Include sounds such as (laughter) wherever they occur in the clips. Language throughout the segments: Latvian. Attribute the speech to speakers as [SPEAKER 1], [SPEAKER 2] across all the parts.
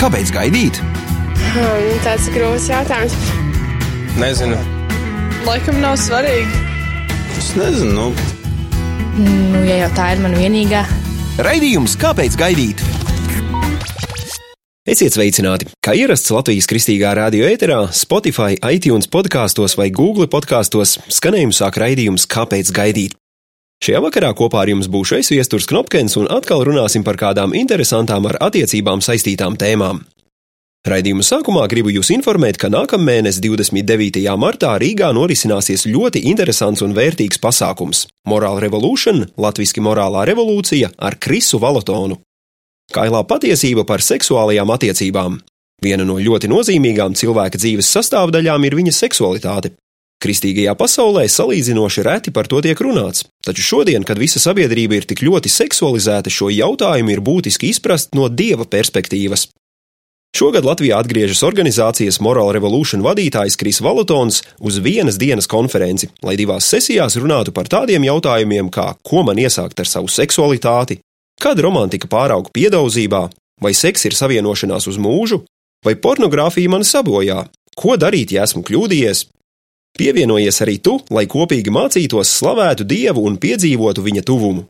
[SPEAKER 1] Kāpēc gaidīt?
[SPEAKER 2] Hmm, tāds grūts jautājums.
[SPEAKER 3] Nezinu.
[SPEAKER 2] Laikam nav svarīgi.
[SPEAKER 3] Es nezinu.
[SPEAKER 4] Nu, ja jau tā ir mana vienīgā,
[SPEAKER 1] Raidījums Kāpēc gaidīt?
[SPEAKER 5] Esiet sveicināti! Kā ierasts Latvijas kristīgā radio ēterā, Spotify, iTunes podkāstos vai Google podkāstos skanējumu sāk raidījums Kāpēc gaidīt? Šajā vakarā kopā ar jums būšu es Viesturs Knopkins un atkal runāsim par kādām interesantām ar attiecībām saistītām tēmām. Raidījuma sākumā gribu jūs informēt, ka nākamnedēļ, 29. martā, Rīgā norisināsies ļoti interesants un vērtīgs pasākums - Morāla Revolution, latviešu morālā revolūcija ar Krisu Valotonu. Kailā patiesība par seksuālajām attiecībām. Viena no ļoti nozīmīgām cilvēka dzīves sastāvdaļām ir viņa seksualitāte. Kristīgajā pasaulē salīdzinoši reti par to tiek runāts, taču šodien, kad visa sabiedrība ir tik ļoti seksualizēta, šo jautājumu ir būtiski izprast no dieva perspektīvas. Šogad Latvijā atgriežas organizācijas Moral Revolution vadītājs Kris Valutons uz vienas dienas konferenci, lai divās sesijās runātu par tādiem jautājumiem, kā ko man iesākt ar savu seksualitāti, kad romantika pārauga piedauzībā, vai seks ir savienošanās uz mūžu, vai pornogrāfija mani sabojā, ko darīt, ja esmu kļūdījies. Pievienojies arī tu, lai kopīgi mācītos, slavētu Dievu un piedzīvotu viņa tuvumu.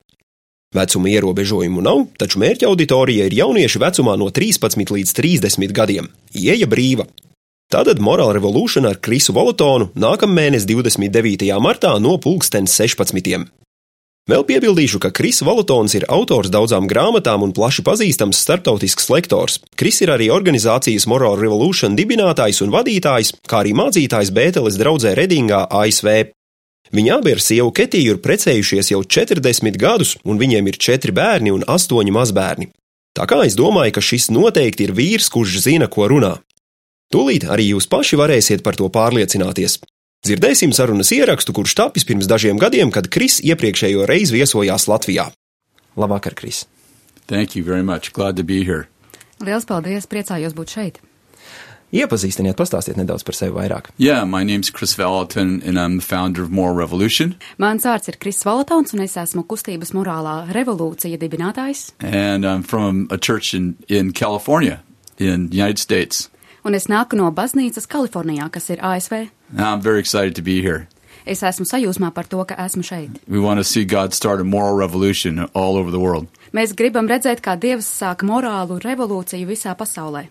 [SPEAKER 5] Vecuma ierobežojumu nav, taču mērķa auditorija ir jaunieši vecumā no 13 līdz 30 gadiem. Ieja brīva. Tātad Morāla revolūcija ar Krisu Volotonu nākamnedēļ 29. martā no 2016. Vēl piebildīšu, ka Kris Valutons ir autors daudzām grāmatām un plaši pazīstams starptautisks lektors. Kris ir arī organizācijas Moral Revolution dibinātājs un vadītājs, kā arī mācītājs Bēteles draugzē Redingā, ASV. Viņi abi ar sievu Ketiju ir precējušies jau 40 gadus, un viņiem ir četri bērni un astoņi mazbērni. Tā kā es domāju, ka šis noteikti ir vīrs, kurš zina, ko runā. Tūlīt arī jūs paši varēsiet par to pārliecināties. Dzirdēsim sarunas ierakstu, kurš tapis pirms dažiem gadiem, kad Kris iepriekšējo reizi viesojās Latvijā. Labvakar, Kris!
[SPEAKER 6] Thank you very much. Glad to be here.
[SPEAKER 7] Liels paldies, priecājos būt šeit.
[SPEAKER 5] Iepazīstiniet, pastāstiet nedaudz par sevi vairāk.
[SPEAKER 6] Yeah, my name's Chris Valentin, and I'm the founder of Moral Revolution.
[SPEAKER 7] Mans vārds ir Kris Valotons, un es esmu kustības morālā revolūcija dibinātājs,
[SPEAKER 6] And I'm from a church in, in California, in the United States.
[SPEAKER 7] un es nāku no baznīcas Kalifornijā, kas ir ASV.
[SPEAKER 6] And I'm very excited to be here.
[SPEAKER 7] Es esmu sajūsmā par to, ka esmu šeit.
[SPEAKER 6] We want to see God start a moral revolution all over the world.
[SPEAKER 7] Mēs gribam redzēt, kā Dievs sāk morālu revolūciju visā pasaulē.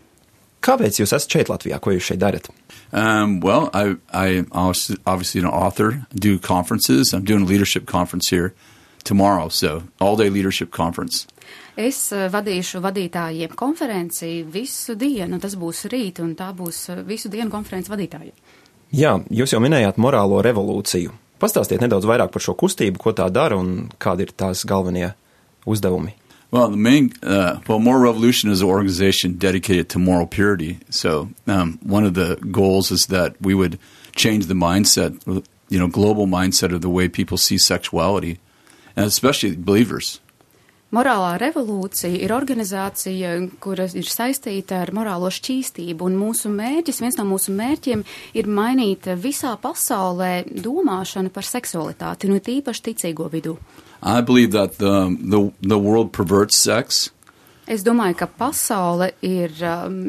[SPEAKER 5] Kāpēc jūs esat šeit Latvijā? Ko jūs šeit darat?
[SPEAKER 6] Um, well, I, I am obviously obviously an author, I do conferences. I'm doing a leadership conference here tomorrow, so all day leadership conference.
[SPEAKER 7] Es eh, vadīšu vadītājiem konferenci visu dienu, tas būs rīt, un tā būs eh, visu dienu konferences vadītāji.
[SPEAKER 5] Jā, jūs jau minējāt morālo revolūciju. Pastāstiet nedaudz vairāk par šo kustību, ko tā dara un kādi ir tās galvenie uzdevumi.
[SPEAKER 6] Well, the main, uh, well, Moral Revolution is an organization dedicated to moral purity. So, um, one of the goals is that we would change the mindset, you know, global mindset of the way people see sexuality, and especially believers.
[SPEAKER 7] Morālā revolūcija ir organizācija, kura ir saistīta ar morālo šķīstību, un mūsu mērķis, viens no mūsu mērķiem ir mainīt visā pasaulē domāšanu par seksualitāti, nu tīpaši ticīgo vidū.
[SPEAKER 6] I believe that the, the, the world perverts sex,
[SPEAKER 7] Es domāju, ka pasaule ir, um,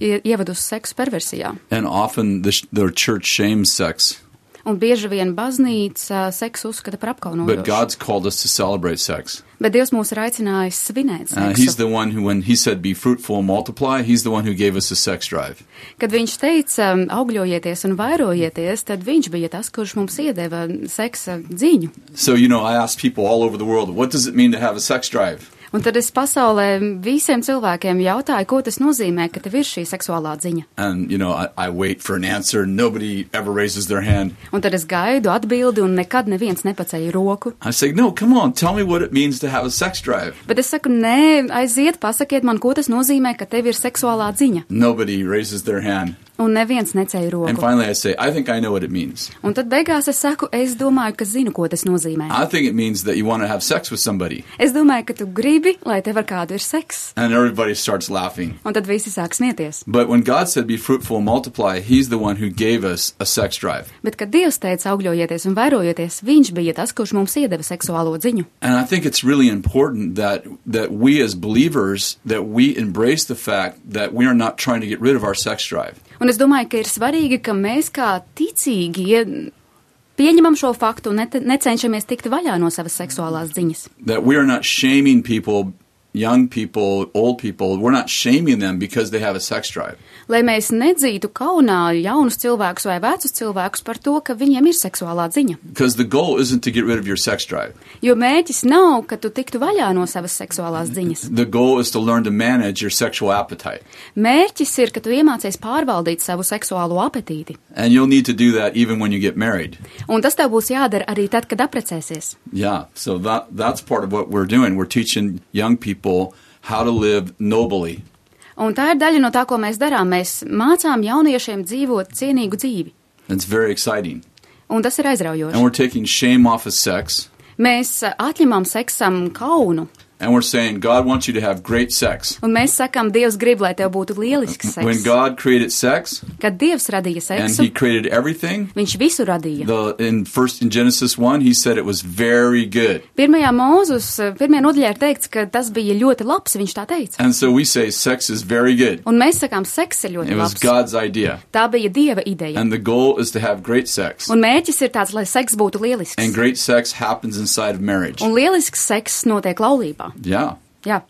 [SPEAKER 7] ir ievedusi seksu perversijā,
[SPEAKER 6] and often the, sh- the church shames sex.
[SPEAKER 7] un bieži vien baznīca seksu uzskata par
[SPEAKER 6] But
[SPEAKER 7] apkaunojumu.
[SPEAKER 6] God's called us to celebrate sex.
[SPEAKER 7] Bet Dievs mūs ir aicinājis svinēt
[SPEAKER 6] Uh, he's the
[SPEAKER 7] seksu.
[SPEAKER 6] one who, when He said, be fruitful and multiply, He's the one who gave us a sex drive.
[SPEAKER 7] Kad viņš teica, augļojieties un vairojieties, tad viņš bija tas, kurš mums iedeva seksa dziņu.
[SPEAKER 6] So, you know, I ask people all over the world, what does it mean to have a sex drive?
[SPEAKER 7] Un tad es pasaulē visiem cilvēkiem jautāju, ko tas nozīmē, ka tev ir šī seksuālā ziņa.
[SPEAKER 6] And, you know, I, I wait for an answer. and Nobody ever raises their hand.
[SPEAKER 7] Un tad es gaidu atbildi, un nekad neviens nepaceļ roku.
[SPEAKER 6] I say, no, come on, tell me what it means to have a sex drive.
[SPEAKER 7] Bet es saku, nē, aiziet, pasakiet man, ko tas nozīmē, ka tev ir seksuālā ziņa.
[SPEAKER 6] Nobody raises their hand.
[SPEAKER 7] Un neviens neceļ
[SPEAKER 6] And
[SPEAKER 7] roku.
[SPEAKER 6] finally, I say, I think I know what it means.
[SPEAKER 7] Un tad beigās es saku, es domāju, ka zinu, ko tas nozīmē.
[SPEAKER 6] I think it means that you want to have sex with somebody.
[SPEAKER 7] Es domāju, ka tu gribi gribi, lai tev ar kādu ir sekss.
[SPEAKER 6] And everybody starts laughing.
[SPEAKER 7] Un tad visi sāk smieties.
[SPEAKER 6] But when God said, be fruitful and multiply, He's the one who gave us a sex drive.
[SPEAKER 7] Bet, kad Dievs teica, augļojieties un vairojieties, Viņš bija tas, kurš mums iedeva seksuālo ziņu.
[SPEAKER 6] And I think it's really important that, that we as believers, that we embrace the fact that we are not trying to get rid of our sex drive.
[SPEAKER 7] Un es domāju, ka ir svarīgi, ka mēs kā ticīgie pieņemam šo faktu un nete- necenšamies tikt vaļā no savas seksuālās ziņas.
[SPEAKER 6] that we are not shaming people, young people, old people. We're not shaming them because they have a sex drive.
[SPEAKER 7] Lai mēs nedzītu kaunā jaunus cilvēkus vai vecus cilvēkus par to, ka viņiem ir seksuālā ziņa.
[SPEAKER 6] Because the goal isn't to get rid of your sex drive.
[SPEAKER 7] Jo mērķis nav, ka tu tiktu vaļā no savas seksuālās ziņas.
[SPEAKER 6] The goal is to learn to manage your sexual appetite.
[SPEAKER 7] Mērķis ir, ka tu iemācies pārvaldīt savu seksuālo apetīti.
[SPEAKER 6] And you'll need to do that even when you get married.
[SPEAKER 7] Un tas tev būs jādara arī tad, kad apprecēsies.
[SPEAKER 6] Yeah, so that, that's part of what we're doing. We're teaching young people how to live nobly.
[SPEAKER 7] Un tā ir daļa no tā, ko mēs darām. Mēs mācām jauniešiem dzīvot cienīgu dzīvi.
[SPEAKER 6] It's very exciting.
[SPEAKER 7] Un tas ir
[SPEAKER 6] And
[SPEAKER 7] aizraujoši.
[SPEAKER 6] we're taking shame off of sex.
[SPEAKER 7] Mēs ā, atņemam seksam kaunu.
[SPEAKER 6] And we're saying, God wants you to have great sex.
[SPEAKER 7] Un mēs sakām, Dievs grib, lai tev būtu lielisks
[SPEAKER 6] When
[SPEAKER 7] seks.
[SPEAKER 6] God created sex
[SPEAKER 7] Kad Dievs radīja
[SPEAKER 6] and
[SPEAKER 7] seksu,
[SPEAKER 6] He created everything,
[SPEAKER 7] viņš visu radīja.
[SPEAKER 6] The in first in Genesis one, he said it was very good,
[SPEAKER 7] Pirmajā mūzus, pirmajā nodaļā ir teikts, ka tas bija ļoti labs, viņš tā teica.
[SPEAKER 6] and so we say sex is very good.
[SPEAKER 7] Un mēs sakām, seks ir
[SPEAKER 6] It
[SPEAKER 7] ļoti
[SPEAKER 6] was
[SPEAKER 7] labs.
[SPEAKER 6] God's idea,
[SPEAKER 7] Tā bija Dieva ideja.
[SPEAKER 6] and the goal is to have great sex,
[SPEAKER 7] Un mērķis ir tāds, lai seks būtu
[SPEAKER 6] and
[SPEAKER 7] lielisks.
[SPEAKER 6] great sex happens inside of marriage.
[SPEAKER 7] Un lielisks seks notiek laulībā.
[SPEAKER 6] Yeah,
[SPEAKER 7] Jā,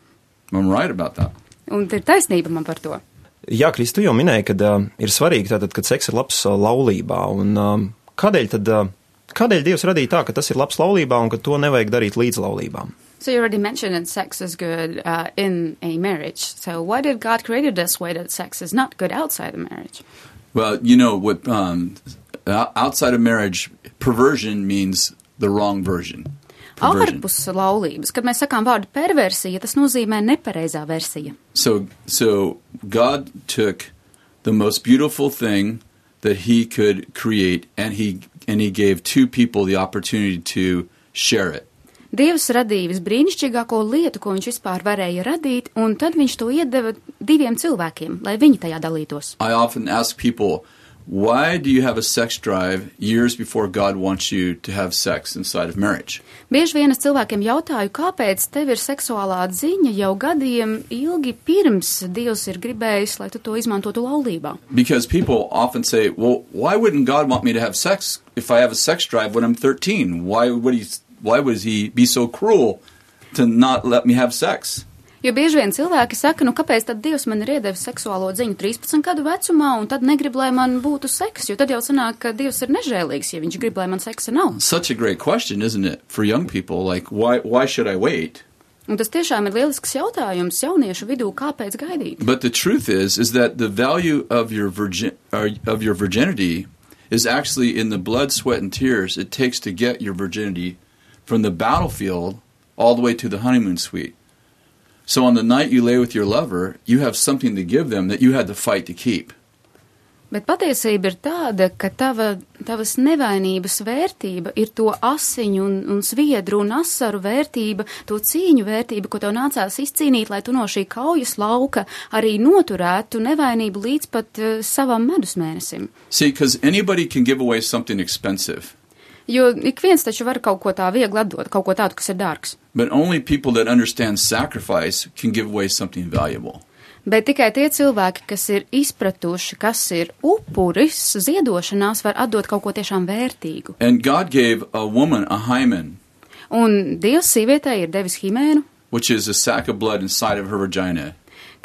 [SPEAKER 6] I'm right about that.
[SPEAKER 7] un ir taisnība man par to.
[SPEAKER 8] Jā, Kristu jau minēja, ka uh, ir svarīgi, tātad, kad seks ir labs uh, laulībā. Un, uh, kādēļ, tad, uh, kādēļ Dievs radīja tā, ka tas ir labs laulībā un ka to nevajag darīt līdz laulībām?
[SPEAKER 7] So you already mentioned that sex is good uh, in a marriage. So why did God create it this way that sex is not good outside the marriage?
[SPEAKER 6] Well, you know what? Um, o- outside of marriage, perversion means the wrong version. Perversion.
[SPEAKER 7] Ārpus laulības, kad mēs sakām vārdu perversija, tas nozīmē nepareizā versija.
[SPEAKER 6] So, so God took the most beautiful thing that He could create, and He and He gave two people the opportunity to share it.
[SPEAKER 7] Dievs radīja visbrīnišķīgāko lietu, ko viņš vispār varēja radīt, un tad viņš to iedeva diviem cilvēkiem, lai viņi tajā dalītos.
[SPEAKER 6] I often ask people, "Why do you have a sex drive years before God wants you to have sex inside of marriage?"
[SPEAKER 7] Bieži vien es cilvēkiem jautāju, kāpēc tev ir seksuālā ziņa jau gadiem ilgi pirms Dievs ir gribējis, lai tu to izmantotu laulībā.
[SPEAKER 6] Because people often say, "Well, why wouldn't God want me to have sex if I have a sex drive when I'm 13? Why would He? Why would He be so cruel to not let me have sex?"
[SPEAKER 7] Jo bieži vien cilvēki saka, nu kāpēc tad Dievs man ir iedevis seksuālo ziņu 13 gadu vecumā, un tad negrib, lai man būtu seks, jo tad jau sanāk, ka Dievs ir nežēlīgs, ja viņš grib, lai man seksa nav.
[SPEAKER 6] such a great question, isn't it, for young people? Like, why why should I wait?
[SPEAKER 7] Un tas tiešām ir lielisks jautājums jauniešu vidū, kāpēc gaidīt.
[SPEAKER 6] But the truth is, is that the value of your virgin or of your virginity is actually in the blood, sweat, and tears it takes to get your virginity from the battlefield all the way to the honeymoon suite. So on the night you lay with your lover, you have something to give them that you had to fight to keep.
[SPEAKER 7] Bet patiesība ir tāda, ka tava, tavas nevainības vērtība ir to asiņu un, un sviedru un asaru vērtība, to cīņu vērtība, ko tev nācās izcīnīt, lai tu no šī kaujas lauka arī noturētu nevainību līdz pat uh, savam medusmēnesim.
[SPEAKER 6] See, because anybody can give away something expensive,
[SPEAKER 7] Jo ik viens taču var kaut ko tā viegli atdot, kaut ko tādu, kas ir dārgs.
[SPEAKER 6] but only people that understand sacrifice can give away something valuable.
[SPEAKER 7] Bet tikai tie cilvēki, kas ir izpratuši, kas ir upuris ziedošanās, var atdot kaut ko tiešām vērtīgu.
[SPEAKER 6] And God gave a woman a hymen,
[SPEAKER 7] Un Dievs sievietei ir devis himēnu,
[SPEAKER 6] which is a sack of blood inside of her vagina.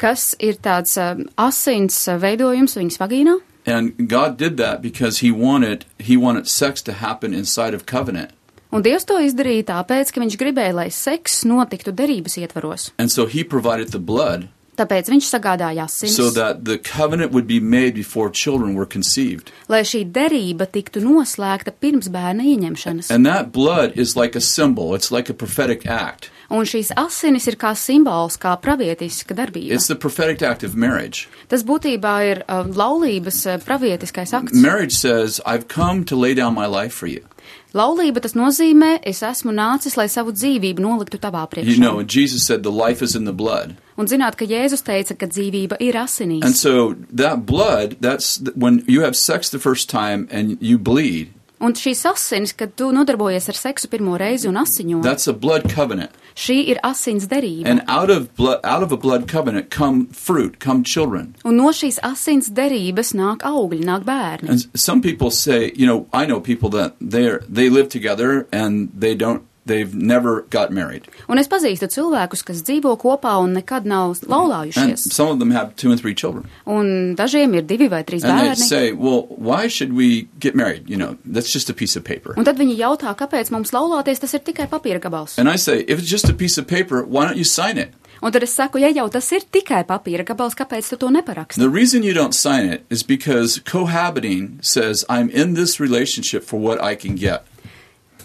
[SPEAKER 7] kas ir tāds um, asins uh, veidojums viņas vagīnā.
[SPEAKER 6] And God did that because he wanted he wanted sex to happen inside of covenant.
[SPEAKER 7] Un Dievs to izdarīja tāpēc, ka viņš gribēja, lai seks notiktu derības ietvaros.
[SPEAKER 6] And so he provided the blood
[SPEAKER 7] Tāpēc viņš sagādāja asins,
[SPEAKER 6] so that the covenant would be made before children were conceived.
[SPEAKER 7] lai šī derība tiktu noslēgta pirms bērna ieņemšanas.
[SPEAKER 6] And that blood is like a symbol, it's like a prophetic act.
[SPEAKER 7] Un šīs asinis ir kā simbols, kā pravietiska darbība.
[SPEAKER 6] It's the prophetic act of marriage.
[SPEAKER 7] Tas būtībā ir uh, laulības uh, pravietiskais akts.
[SPEAKER 6] Marriage says, "I've come to lay down my life for you."
[SPEAKER 7] Laulība tas nozīmē, es esmu nācis, lai savu dzīvību noliktu tavā
[SPEAKER 6] You
[SPEAKER 7] priekšā.
[SPEAKER 6] know, Jesus said the life is in the blood.
[SPEAKER 7] Un zināt, ka Jēzus teica, ka dzīvība ir asinīs.
[SPEAKER 6] And so that blood, that's when you have sex the first time and you bleed,
[SPEAKER 7] Un šīs asins, kad tu nodarbojies ar seksu pirmo reizi un asiņo,
[SPEAKER 6] that's a blood covenant.
[SPEAKER 7] šī ir asins derība.
[SPEAKER 6] And out of blood, out of a blood covenant come fruit, come children.
[SPEAKER 7] Un no šīs asins derības nāk augļi, nāk bērni.
[SPEAKER 6] And s- some people say, you know, I know people that they they live together and they don't they've never got married.
[SPEAKER 7] Un es pazīstu cilvēkus, kas dzīvo kopā un nekad nav
[SPEAKER 6] And
[SPEAKER 7] laulājušies.
[SPEAKER 6] some of them have two and three children.
[SPEAKER 7] Un dažiem ir divi vai trīs
[SPEAKER 6] And they
[SPEAKER 7] bērni.
[SPEAKER 6] say, well, why should we get married? You know, that's just a piece of paper.
[SPEAKER 7] Un tad viņi jautā, kāpēc mums laulāties tas ir tikai papīra gabals.
[SPEAKER 6] And I say, if it's just a piece of paper, why don't you sign it?
[SPEAKER 7] Un tad es saku, ja jau tas ir tikai papīra gabals, kāpēc tu to neparaksti?
[SPEAKER 6] The reason you don't sign it is because cohabiting says, I'm in this relationship for what I can get.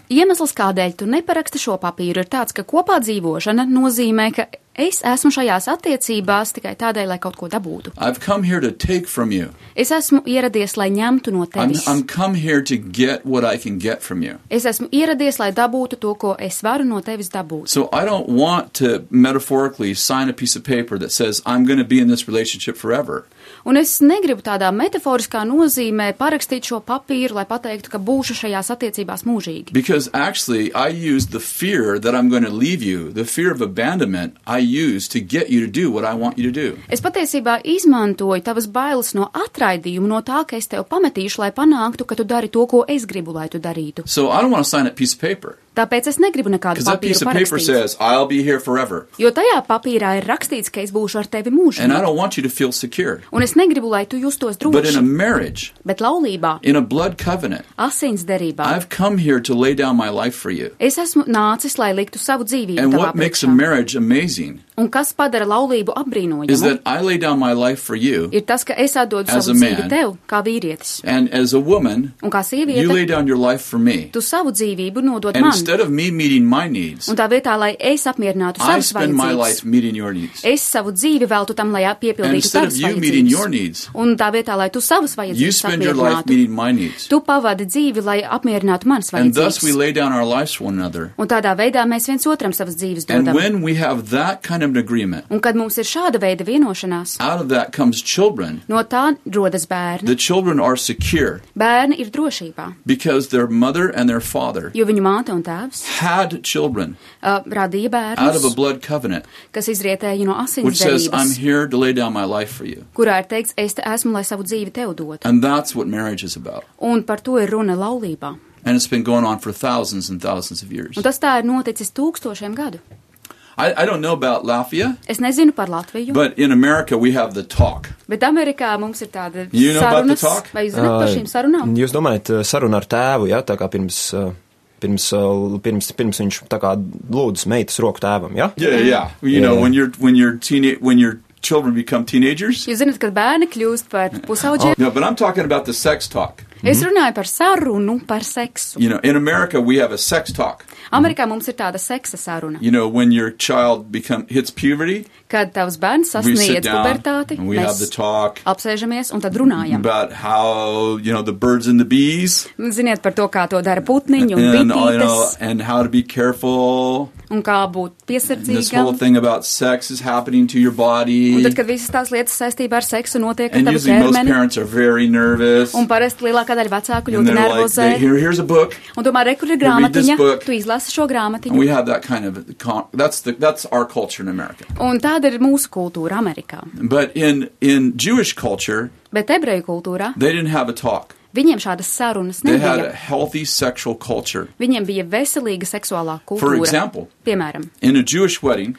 [SPEAKER 7] Iemesls, kādēļ tu neparaksti šo papīru, ir tāds, ka kopā dzīvošana nozīmē, ka es esmu šajās attiecībās tikai tādēļ, lai kaut ko dabūtu.
[SPEAKER 6] I've come here to take from you.
[SPEAKER 7] Es esmu ieradies, lai ņemtu no
[SPEAKER 6] I'm,
[SPEAKER 7] tevis.
[SPEAKER 6] I'm come here to get what I can get from you.
[SPEAKER 7] Es esmu ieradies, lai dabūtu to, ko es varu no tevis dabūt.
[SPEAKER 6] So I don't want to metaphorically sign a piece of paper that says, I'm going to be in this relationship forever.
[SPEAKER 7] Un es negribu tādā metaforiskā nozīmē parakstīt šo papīru, lai pateiktu, ka būšu šajās attiecībās mūžīgi.
[SPEAKER 6] Because actually, I use the fear that I'm going to leave you, the fear of abandonment, I use to get you to do what I want you to do.
[SPEAKER 7] Es patiesībā izmantoju tavas bailes no atraidījuma, no tā, ka es tev pametīšu, lai panāktu, ka tu dari to, ko es gribu, lai tu darītu.
[SPEAKER 6] So I don't want to sign that piece of paper.
[SPEAKER 7] Tāpēc es negribu nekādu
[SPEAKER 6] Because that piece
[SPEAKER 7] papīru
[SPEAKER 6] of paper
[SPEAKER 7] parakstīt.
[SPEAKER 6] says, I'll be here forever.
[SPEAKER 7] Jo tajā papīrā ir rakstīts, ka es būšu ar tevi
[SPEAKER 6] And I
[SPEAKER 7] mūžīgi.
[SPEAKER 6] don't want you to feel secure.
[SPEAKER 7] Un es negribu, lai tu justos
[SPEAKER 6] But in a
[SPEAKER 7] droši,
[SPEAKER 6] marriage,
[SPEAKER 7] bet laulībā,
[SPEAKER 6] in a blood covenant,
[SPEAKER 7] Uh, asinsderībā.
[SPEAKER 6] I've come here to lay down my life for you.
[SPEAKER 7] Es esmu nācis, lai liktu savu dzīvību
[SPEAKER 6] And
[SPEAKER 7] tavā
[SPEAKER 6] what makes a
[SPEAKER 7] priekšā.
[SPEAKER 6] marriage amazing
[SPEAKER 7] Un kas padara laulību
[SPEAKER 6] is
[SPEAKER 7] apbrīnojamu,
[SPEAKER 6] that I lay down my life for you,
[SPEAKER 7] ir tas, ka es atdodu
[SPEAKER 6] As
[SPEAKER 7] savu
[SPEAKER 6] a
[SPEAKER 7] dzīvi
[SPEAKER 6] man.
[SPEAKER 7] tev, kā vīrietis.
[SPEAKER 6] and as a woman,
[SPEAKER 7] Un kā
[SPEAKER 6] you lay
[SPEAKER 7] sieviete,
[SPEAKER 6] down your life for me.
[SPEAKER 7] tu savu dzīvību nodod
[SPEAKER 6] And
[SPEAKER 7] man.
[SPEAKER 6] instead of me meeting my needs,
[SPEAKER 7] Un tā vietā, lai es apmierinātu
[SPEAKER 6] I
[SPEAKER 7] savas
[SPEAKER 6] spend my life
[SPEAKER 7] vajadzības,
[SPEAKER 6] meeting your needs.
[SPEAKER 7] es savu dzīvi veltu tam, lai
[SPEAKER 6] And
[SPEAKER 7] piepildītu
[SPEAKER 6] instead of
[SPEAKER 7] tavas
[SPEAKER 6] you meeting your
[SPEAKER 7] vajadzības.
[SPEAKER 6] needs,
[SPEAKER 7] Un tā vietā, lai tu savas
[SPEAKER 6] you
[SPEAKER 7] vajadzības
[SPEAKER 6] spend your life
[SPEAKER 7] apmierinātu,
[SPEAKER 6] meeting my needs.
[SPEAKER 7] tu pavadi dzīvi, lai apmierinātu manas
[SPEAKER 6] And thus we
[SPEAKER 7] vajadzības.
[SPEAKER 6] lay down our lives for one another.
[SPEAKER 7] Un tādā veidā mēs viens otram savas dzīves
[SPEAKER 6] And
[SPEAKER 7] dodam.
[SPEAKER 6] when we have that kind of an agreement,
[SPEAKER 7] Un kad mums ir šāda veida vienošanās,
[SPEAKER 6] out of that comes children.
[SPEAKER 7] no tā rodas bērni.
[SPEAKER 6] The children are secure
[SPEAKER 7] Bērni ir drošībā,
[SPEAKER 6] because their mother and their father
[SPEAKER 7] jo viņu māte un tēvs
[SPEAKER 6] had children
[SPEAKER 7] uh, radīja
[SPEAKER 6] out of a
[SPEAKER 7] bērnus,
[SPEAKER 6] blood covenant,
[SPEAKER 7] kas izrietēja no
[SPEAKER 6] which says, I'm
[SPEAKER 7] asinsdzērības,
[SPEAKER 6] here to lay down my life for you.
[SPEAKER 7] kurā ir teikts, es te esmu, lai savu dzīvi tev dotu.
[SPEAKER 6] And that's what marriage is about.
[SPEAKER 7] Un par to ir runa laulībā.
[SPEAKER 6] And it's been going on for thousands and thousands of years.
[SPEAKER 7] Un Nu, tas tā ir noticis tūkstošiem gadu.
[SPEAKER 6] I, I don't know about Latvia,
[SPEAKER 7] Es nezinu par Latviju, bet,
[SPEAKER 6] but in America we have the talk.
[SPEAKER 7] bet Amerikā mums ir tāda
[SPEAKER 6] You know about the
[SPEAKER 7] sarunas,
[SPEAKER 6] talk?
[SPEAKER 7] vai jūs zināt par šīm sarunām?
[SPEAKER 8] Jūs domājat, eh, saruna ar tēvu, ja tā kā pirms. eh, Pirms, eh, pirms, pirms viņš tā kā lūdz meitas roku tēvam, ja?
[SPEAKER 6] Yeah, yeah. You know,
[SPEAKER 8] Yeah.
[SPEAKER 6] when you're when you're teenage when your children become teenagers.
[SPEAKER 7] Jūs zināt, kad bērni kļūst
[SPEAKER 6] Oh,
[SPEAKER 7] par pusauģiem?
[SPEAKER 6] No, but I'm talking about the sex talk.
[SPEAKER 7] Es runāju par sarunu, par seksu.
[SPEAKER 6] You know, in America we have a sex talk.
[SPEAKER 7] Amerikā mums ir tāda seksa saruna,
[SPEAKER 6] You know, when your child become hits puberty,
[SPEAKER 7] kad tavs bērns
[SPEAKER 6] we sit
[SPEAKER 7] sasniedz
[SPEAKER 6] down
[SPEAKER 7] pubertāti,
[SPEAKER 6] and we have the
[SPEAKER 7] mēs
[SPEAKER 6] talk
[SPEAKER 7] apsēžamies un tad runājam. Nu,
[SPEAKER 6] about how you know the birds and the bees
[SPEAKER 7] Ziniet par to, kā to dara putniņi un
[SPEAKER 6] and uh, you know
[SPEAKER 7] bitītes,
[SPEAKER 6] and how to be careful.
[SPEAKER 7] un kā būt
[SPEAKER 6] And this whole
[SPEAKER 7] piesardzīgam.
[SPEAKER 6] thing about sex is happening to your body.
[SPEAKER 7] Un tad, kad visas tās lietas saistībā ar seksu notiek ar
[SPEAKER 6] And
[SPEAKER 7] tavu
[SPEAKER 6] usually most
[SPEAKER 7] ķermeni,
[SPEAKER 6] parents are very nervous.
[SPEAKER 7] un parasti lielākā daļa vecāku
[SPEAKER 6] And
[SPEAKER 7] ļoti
[SPEAKER 6] they're like,
[SPEAKER 7] nervozē,
[SPEAKER 6] they, here, here's a book.
[SPEAKER 7] un tomēr rekur ir
[SPEAKER 6] read this
[SPEAKER 7] grāmatiņa,
[SPEAKER 6] book.
[SPEAKER 7] tu izlasi šo
[SPEAKER 6] And Nu, we
[SPEAKER 7] grāmatiņu.
[SPEAKER 6] have that kind of con- that's the that's our culture in America.
[SPEAKER 7] Un tāda ir mūsu kultūra Amerikā.
[SPEAKER 6] But in in Jewish culture,
[SPEAKER 7] Bet ebreju kultūrā
[SPEAKER 6] they didn't have a talk.
[SPEAKER 7] viņiem šādas sarunas
[SPEAKER 6] They had a
[SPEAKER 7] nebija.
[SPEAKER 6] healthy sexual culture.
[SPEAKER 7] Viņiem bija veselīga seksuālā
[SPEAKER 6] For
[SPEAKER 7] kultūra.
[SPEAKER 6] example,
[SPEAKER 7] Piemēram,
[SPEAKER 6] in a Jewish wedding,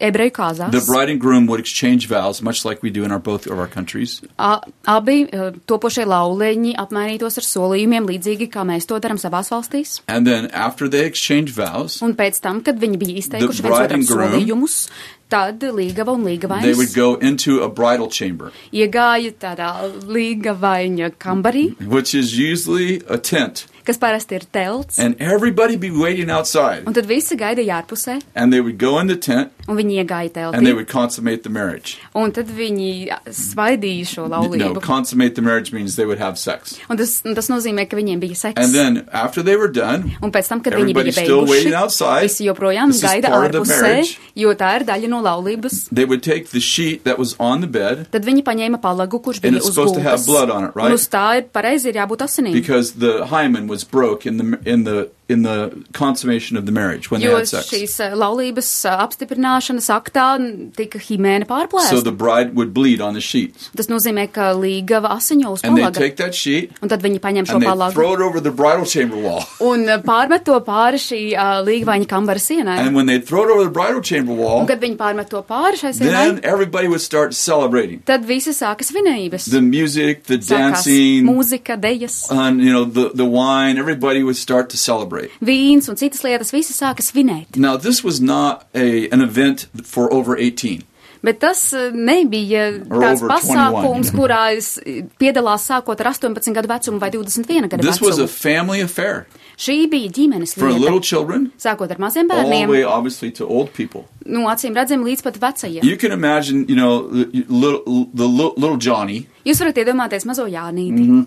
[SPEAKER 7] ebreju
[SPEAKER 6] the
[SPEAKER 7] kāzās
[SPEAKER 6] bride and groom would exchange vows, much like we do in our both of our countries.
[SPEAKER 7] a- abi eh, topošie lauleņi apmainītos ar solījumiem līdzīgi, kā mēs to darām savās valstīs.
[SPEAKER 6] And then after they exchange vows,
[SPEAKER 7] Un pēc tam, kad viņi bija izteikuši
[SPEAKER 6] The
[SPEAKER 7] viens
[SPEAKER 6] bride
[SPEAKER 7] otram
[SPEAKER 6] and groom-
[SPEAKER 7] solījumus, tad līgava un
[SPEAKER 6] they would
[SPEAKER 7] līgavainis
[SPEAKER 6] go into a bridal chamber,
[SPEAKER 7] iegāja tādā līgavaiņa kambarī,
[SPEAKER 6] which is usually a tent,
[SPEAKER 7] kas parasti ir telts,
[SPEAKER 6] and everybody be waiting outside.
[SPEAKER 7] un tad visi gaidīja ārpusē,
[SPEAKER 6] And they would go in the tent
[SPEAKER 7] un viņi iegāja
[SPEAKER 6] and they
[SPEAKER 7] teltī.
[SPEAKER 6] would consummate the marriage.
[SPEAKER 7] Un tad viņi svaidīja šo
[SPEAKER 6] No,
[SPEAKER 7] laulību.
[SPEAKER 6] consummate the marriage means they would have sex.
[SPEAKER 7] Un tas, un tas nozīmē, ka viņiem bija
[SPEAKER 6] And
[SPEAKER 7] seks.
[SPEAKER 6] then after they were done,
[SPEAKER 7] Un pēc tam, kad viņi
[SPEAKER 6] Everybody's
[SPEAKER 7] bija
[SPEAKER 6] still
[SPEAKER 7] beiguši,
[SPEAKER 6] waiting outside.
[SPEAKER 7] visi joprojām
[SPEAKER 6] This is
[SPEAKER 7] gaida
[SPEAKER 6] part of the
[SPEAKER 7] ārpusē,
[SPEAKER 6] marriage.
[SPEAKER 7] jo tā ir daļa no laulības.
[SPEAKER 6] they would take the sheet that was on the bed
[SPEAKER 7] Tad viņi paņēma palagu, kurš
[SPEAKER 6] And
[SPEAKER 7] bija
[SPEAKER 6] it's
[SPEAKER 7] uz
[SPEAKER 6] supposed to have
[SPEAKER 7] gultas.
[SPEAKER 6] blood on it, right?
[SPEAKER 7] Un uz tā ir pareizi ir jābūt asinīm.
[SPEAKER 6] because the hymen was broke in the in the in the consummation of the marriage when they
[SPEAKER 7] Jo
[SPEAKER 6] had sex.
[SPEAKER 7] šīs eh, laulības eh, apstiprināšanas aktā n- tika himēna
[SPEAKER 6] So
[SPEAKER 7] pārplēsta.
[SPEAKER 6] the bride would bleed on the sheet.
[SPEAKER 7] Tas nozīmē, ka līgava asiņo uz
[SPEAKER 6] And they
[SPEAKER 7] palaga.
[SPEAKER 6] take that sheet
[SPEAKER 7] Un tad viņi paņem šo
[SPEAKER 6] and they
[SPEAKER 7] palagu
[SPEAKER 6] throw it over the bridal chamber wall.
[SPEAKER 7] un eh, pārmet to pāri šī uh, līgavaņa kambara sienai.
[SPEAKER 6] And when they throw it over the bridal chamber
[SPEAKER 7] Un
[SPEAKER 6] wall,
[SPEAKER 7] kad viņi pārmet to pāri šai sienai,
[SPEAKER 6] then everybody would start celebrating.
[SPEAKER 7] tad visi sākas vinības.
[SPEAKER 6] The music, the
[SPEAKER 7] Sākās
[SPEAKER 6] dancing, Uh.
[SPEAKER 7] mūzika, dejas.
[SPEAKER 6] and you know the, the wine, everybody would start to celebrate.
[SPEAKER 7] vīns un citas lietas, visi sāka svinēt.
[SPEAKER 6] Now this was not a an event for over 18.
[SPEAKER 7] Bet tas eh, nebija
[SPEAKER 6] Or
[SPEAKER 7] tāds
[SPEAKER 6] over 21,
[SPEAKER 7] pasākums,
[SPEAKER 6] yeah.
[SPEAKER 7] kurā es eh, piedalās sākot ar 18 gadu vecumu vai 21 gadu
[SPEAKER 6] This was a
[SPEAKER 7] vecumu.
[SPEAKER 6] family affair
[SPEAKER 7] Šī bija ģimenes
[SPEAKER 6] for little
[SPEAKER 7] lieta.
[SPEAKER 6] children
[SPEAKER 7] Sākot ar maziem
[SPEAKER 6] all the way
[SPEAKER 7] bērniem,
[SPEAKER 6] obviously to old people.
[SPEAKER 7] nu, acīm redzam, līdz pat vecajiem.
[SPEAKER 6] You can imagine, you know, the little, the little little Johnny.
[SPEAKER 7] Jūs varat iedomāties mazo Jānīti.
[SPEAKER 6] Mhm.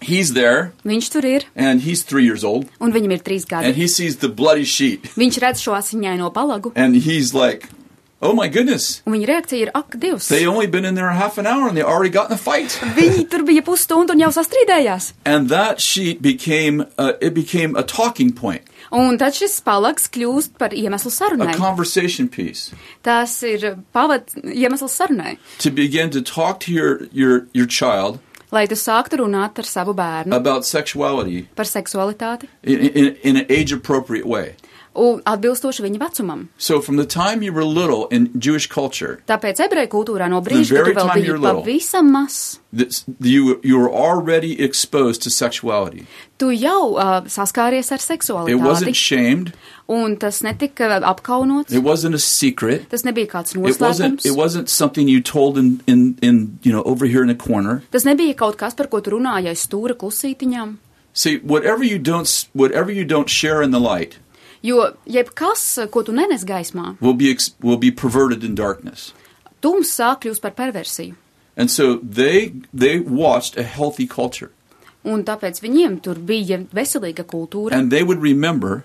[SPEAKER 6] He's there
[SPEAKER 7] Viņš tur ir,
[SPEAKER 6] and he's 3 years old
[SPEAKER 7] un viņam ir trīs
[SPEAKER 6] and
[SPEAKER 7] gadi.
[SPEAKER 6] he sees the bloody sheet
[SPEAKER 7] Viņš redz šo asiņaino palagu,
[SPEAKER 6] and he's like, "Oh my goodness.
[SPEAKER 7] un viņa reakcija ir, ak, Dievs!
[SPEAKER 6] They only been in there half an hour and they already got in a fight."
[SPEAKER 7] Viņi tur bija pusstundu un jau sastrīdējās.
[SPEAKER 6] And that sheet became uh, it became a talking point,
[SPEAKER 7] Un tad šis palags kļūst par iemeslu
[SPEAKER 6] a
[SPEAKER 7] sarunai.
[SPEAKER 6] conversation piece
[SPEAKER 7] Tas ir pavad iemesls sarunai.
[SPEAKER 6] to begin to talk to your your your child
[SPEAKER 7] lai tu sāktu runāt ar savu bērnu
[SPEAKER 6] about sexuality
[SPEAKER 7] par seksualitāti
[SPEAKER 6] in, in, in an age appropriate way.
[SPEAKER 7] un atbilstoši viņa vecumam.
[SPEAKER 6] So from the time you were little in Jewish culture,
[SPEAKER 7] Tāpēc ebreju kultūrā no brīža,
[SPEAKER 6] The
[SPEAKER 7] kad
[SPEAKER 6] very
[SPEAKER 7] tu vēl
[SPEAKER 6] time
[SPEAKER 7] biji
[SPEAKER 6] you're little.
[SPEAKER 7] pavisam mazs,
[SPEAKER 6] this, you you were already exposed to sexuality.
[SPEAKER 7] tu jau uh, saskāries ar
[SPEAKER 6] It wasn't
[SPEAKER 7] seksualitāti,
[SPEAKER 6] shamed.
[SPEAKER 7] un tas netika apkaunots,
[SPEAKER 6] It wasn't a secret.
[SPEAKER 7] tas nebija kāds
[SPEAKER 6] It wasn't.
[SPEAKER 7] noslēpums,
[SPEAKER 6] It wasn't something you told in, in, in you know over here in the corner.
[SPEAKER 7] tas nebija kaut kas, par ko tu runāji aiz stūra klusītiņām.
[SPEAKER 6] See, whatever you don't s- whatever you don't share in the light
[SPEAKER 7] Jo jebkas, ko tu nenes gaismā,
[SPEAKER 6] will be ex- will be perverted in darkness.
[SPEAKER 7] tums sāk kļūst par perversiju.
[SPEAKER 6] And so they they watched a healthy culture,
[SPEAKER 7] Un tāpēc viņiem tur bija veselīga kultūra.
[SPEAKER 6] and they would remember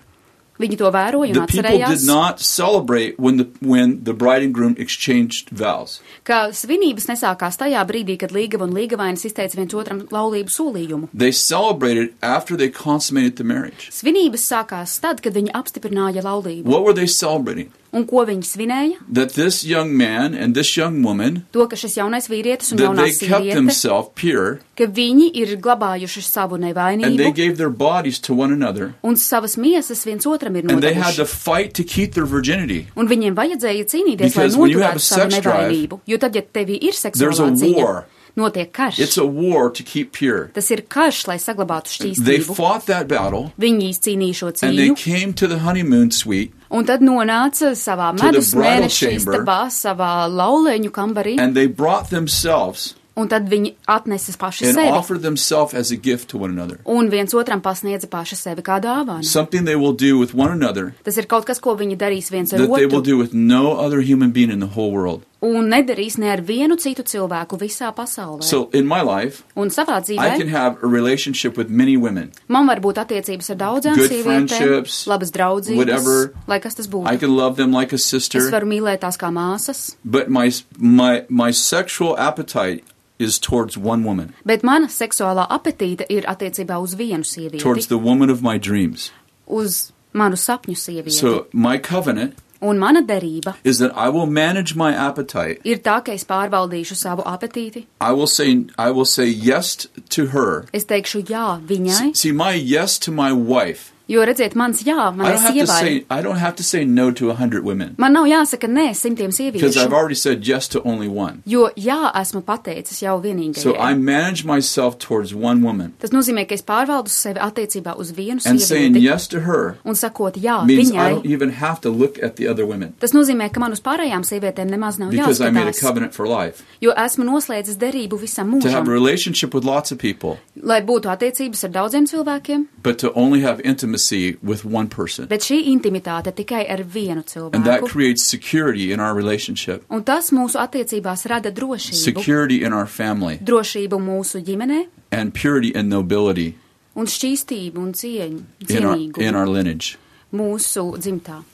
[SPEAKER 7] Viņi to vēroja un
[SPEAKER 6] the people did
[SPEAKER 7] atcerējās.
[SPEAKER 6] not celebrate when the when the bride and groom exchanged vows.
[SPEAKER 7] ka svinības nesākās tajā brīdī, kad līgava un līgavainis izteica viens otram laulību solījumu.
[SPEAKER 6] They celebrated after they consummated the marriage.
[SPEAKER 7] Svinības sākās tad, kad viņi apstiprināja laulību.
[SPEAKER 6] What were they celebrating?
[SPEAKER 7] Un ko viņi svinēja?
[SPEAKER 6] That this young man and this young woman
[SPEAKER 7] To, ka šis jaunais vīrietis un
[SPEAKER 6] that
[SPEAKER 7] jaunā
[SPEAKER 6] they kept
[SPEAKER 7] sieviete,
[SPEAKER 6] themselves pure
[SPEAKER 7] ka viņi ir glabājuši savu
[SPEAKER 6] and they
[SPEAKER 7] nevainību
[SPEAKER 6] gave their bodies to one another
[SPEAKER 7] un savas miesas viens otram ir
[SPEAKER 6] and they had to
[SPEAKER 7] nodevuši.
[SPEAKER 6] fight to keep their virginity.
[SPEAKER 7] Un viņiem vajadzēja cīnīties, lai
[SPEAKER 6] Because when you have a
[SPEAKER 7] noturētu savu
[SPEAKER 6] sex drive,
[SPEAKER 7] nevainību. Jo tad, ja tevī ir
[SPEAKER 6] there's a
[SPEAKER 7] seksuālā dzīve,
[SPEAKER 6] war.
[SPEAKER 7] notiek
[SPEAKER 6] It's
[SPEAKER 7] karš.
[SPEAKER 6] a war to keep pure.
[SPEAKER 7] Tas ir karš, lai saglabātu
[SPEAKER 6] They
[SPEAKER 7] šķīstību.
[SPEAKER 6] fought that battle
[SPEAKER 7] Viņi izcīnīja šo
[SPEAKER 6] and they
[SPEAKER 7] cīņu.
[SPEAKER 6] came to the honeymoon suite
[SPEAKER 7] Un tad nonāca savā
[SPEAKER 6] To the
[SPEAKER 7] medus
[SPEAKER 6] bridal
[SPEAKER 7] mēneša
[SPEAKER 6] chamber.
[SPEAKER 7] istabā, savā laulēņu kambarī,
[SPEAKER 6] and they brought themselves
[SPEAKER 7] un tad viņi atnesa paši
[SPEAKER 6] and
[SPEAKER 7] sevi.
[SPEAKER 6] offered themselves as a gift to one another.
[SPEAKER 7] Un viens otram pasniedza paši sevi kā dāvānu.
[SPEAKER 6] Something they will do with one another
[SPEAKER 7] Tas ir kaut kas, ko viņi darīs viens ar
[SPEAKER 6] that they will
[SPEAKER 7] otru,
[SPEAKER 6] do with no other human being in the whole world.
[SPEAKER 7] un nedarīs ne ar vienu citu cilvēku visā pasaulē.
[SPEAKER 6] So in my life,
[SPEAKER 7] un savā
[SPEAKER 6] I can
[SPEAKER 7] dzīvē
[SPEAKER 6] have a relationship with many women.
[SPEAKER 7] man var būt attiecības ar daudzām
[SPEAKER 6] Good
[SPEAKER 7] sievietēm,
[SPEAKER 6] friendships,
[SPEAKER 7] labas draudzības,
[SPEAKER 6] whatever.
[SPEAKER 7] lai kas tas
[SPEAKER 6] I
[SPEAKER 7] būtu.
[SPEAKER 6] can love them like a
[SPEAKER 7] Es
[SPEAKER 6] sister,
[SPEAKER 7] varu mīlēt tās kā māsas,
[SPEAKER 6] but my my my sexual appetite is towards one woman,
[SPEAKER 7] bet mana seksuālā apetīte ir attiecībā uz vienu
[SPEAKER 6] towards
[SPEAKER 7] sievieti,
[SPEAKER 6] the woman of my dreams.
[SPEAKER 7] uz manu sapņu sievieti.
[SPEAKER 6] So my covenant
[SPEAKER 7] Un mana derība
[SPEAKER 6] is that I will manage my appetite.
[SPEAKER 7] ir tā, ka es pārvaldīšu savu apetīti.
[SPEAKER 6] I will say I will say yes to her.
[SPEAKER 7] Es teikšu jā viņai,
[SPEAKER 6] See my yes to my wife.
[SPEAKER 7] jo redziet, mans jā,
[SPEAKER 6] I
[SPEAKER 7] manai
[SPEAKER 6] don't have to
[SPEAKER 7] sievai.
[SPEAKER 6] say I don't have to say no to a hundred women
[SPEAKER 7] Man nav jāsaka nē simtiem
[SPEAKER 6] because I've
[SPEAKER 7] sieviešu,
[SPEAKER 6] already said yes to only one.
[SPEAKER 7] jo jā esmu pateicis jau
[SPEAKER 6] So I
[SPEAKER 7] vienīgajai.
[SPEAKER 6] manage myself towards one woman
[SPEAKER 7] Tas nozīmē, ka es pārvaldu sevi attiecībā uz vienu
[SPEAKER 6] and saying
[SPEAKER 7] sievieti
[SPEAKER 6] yes to her
[SPEAKER 7] un sakot jā
[SPEAKER 6] means I don't
[SPEAKER 7] viņai.
[SPEAKER 6] even have to look at the other women
[SPEAKER 7] Tas nozīmē, ka man uz pārējām sievietēm nemaz nav
[SPEAKER 6] because I made a
[SPEAKER 7] jāskatās,
[SPEAKER 6] covenant for life.
[SPEAKER 7] jo esmu noslēdzis derību visam
[SPEAKER 6] To have a
[SPEAKER 7] mūžam,
[SPEAKER 6] relationship with lots of people,
[SPEAKER 7] lai būtu attiecības ar daudziem cilvēkiem,
[SPEAKER 6] but to only have intimacy intimacy with one person,
[SPEAKER 7] bet šī intimitāte tikai ar vienu
[SPEAKER 6] and that
[SPEAKER 7] cilvēku.
[SPEAKER 6] creates security in our relationship,
[SPEAKER 7] Un tas mūsu attiecībās rada drošību.
[SPEAKER 6] security in our family,
[SPEAKER 7] Drošību mūsu ģimenē
[SPEAKER 6] and purity and nobility
[SPEAKER 7] un šķīstību un cieņu,
[SPEAKER 6] in our,
[SPEAKER 7] cienīgu
[SPEAKER 6] in our lineage.
[SPEAKER 7] mūsu dzimtā.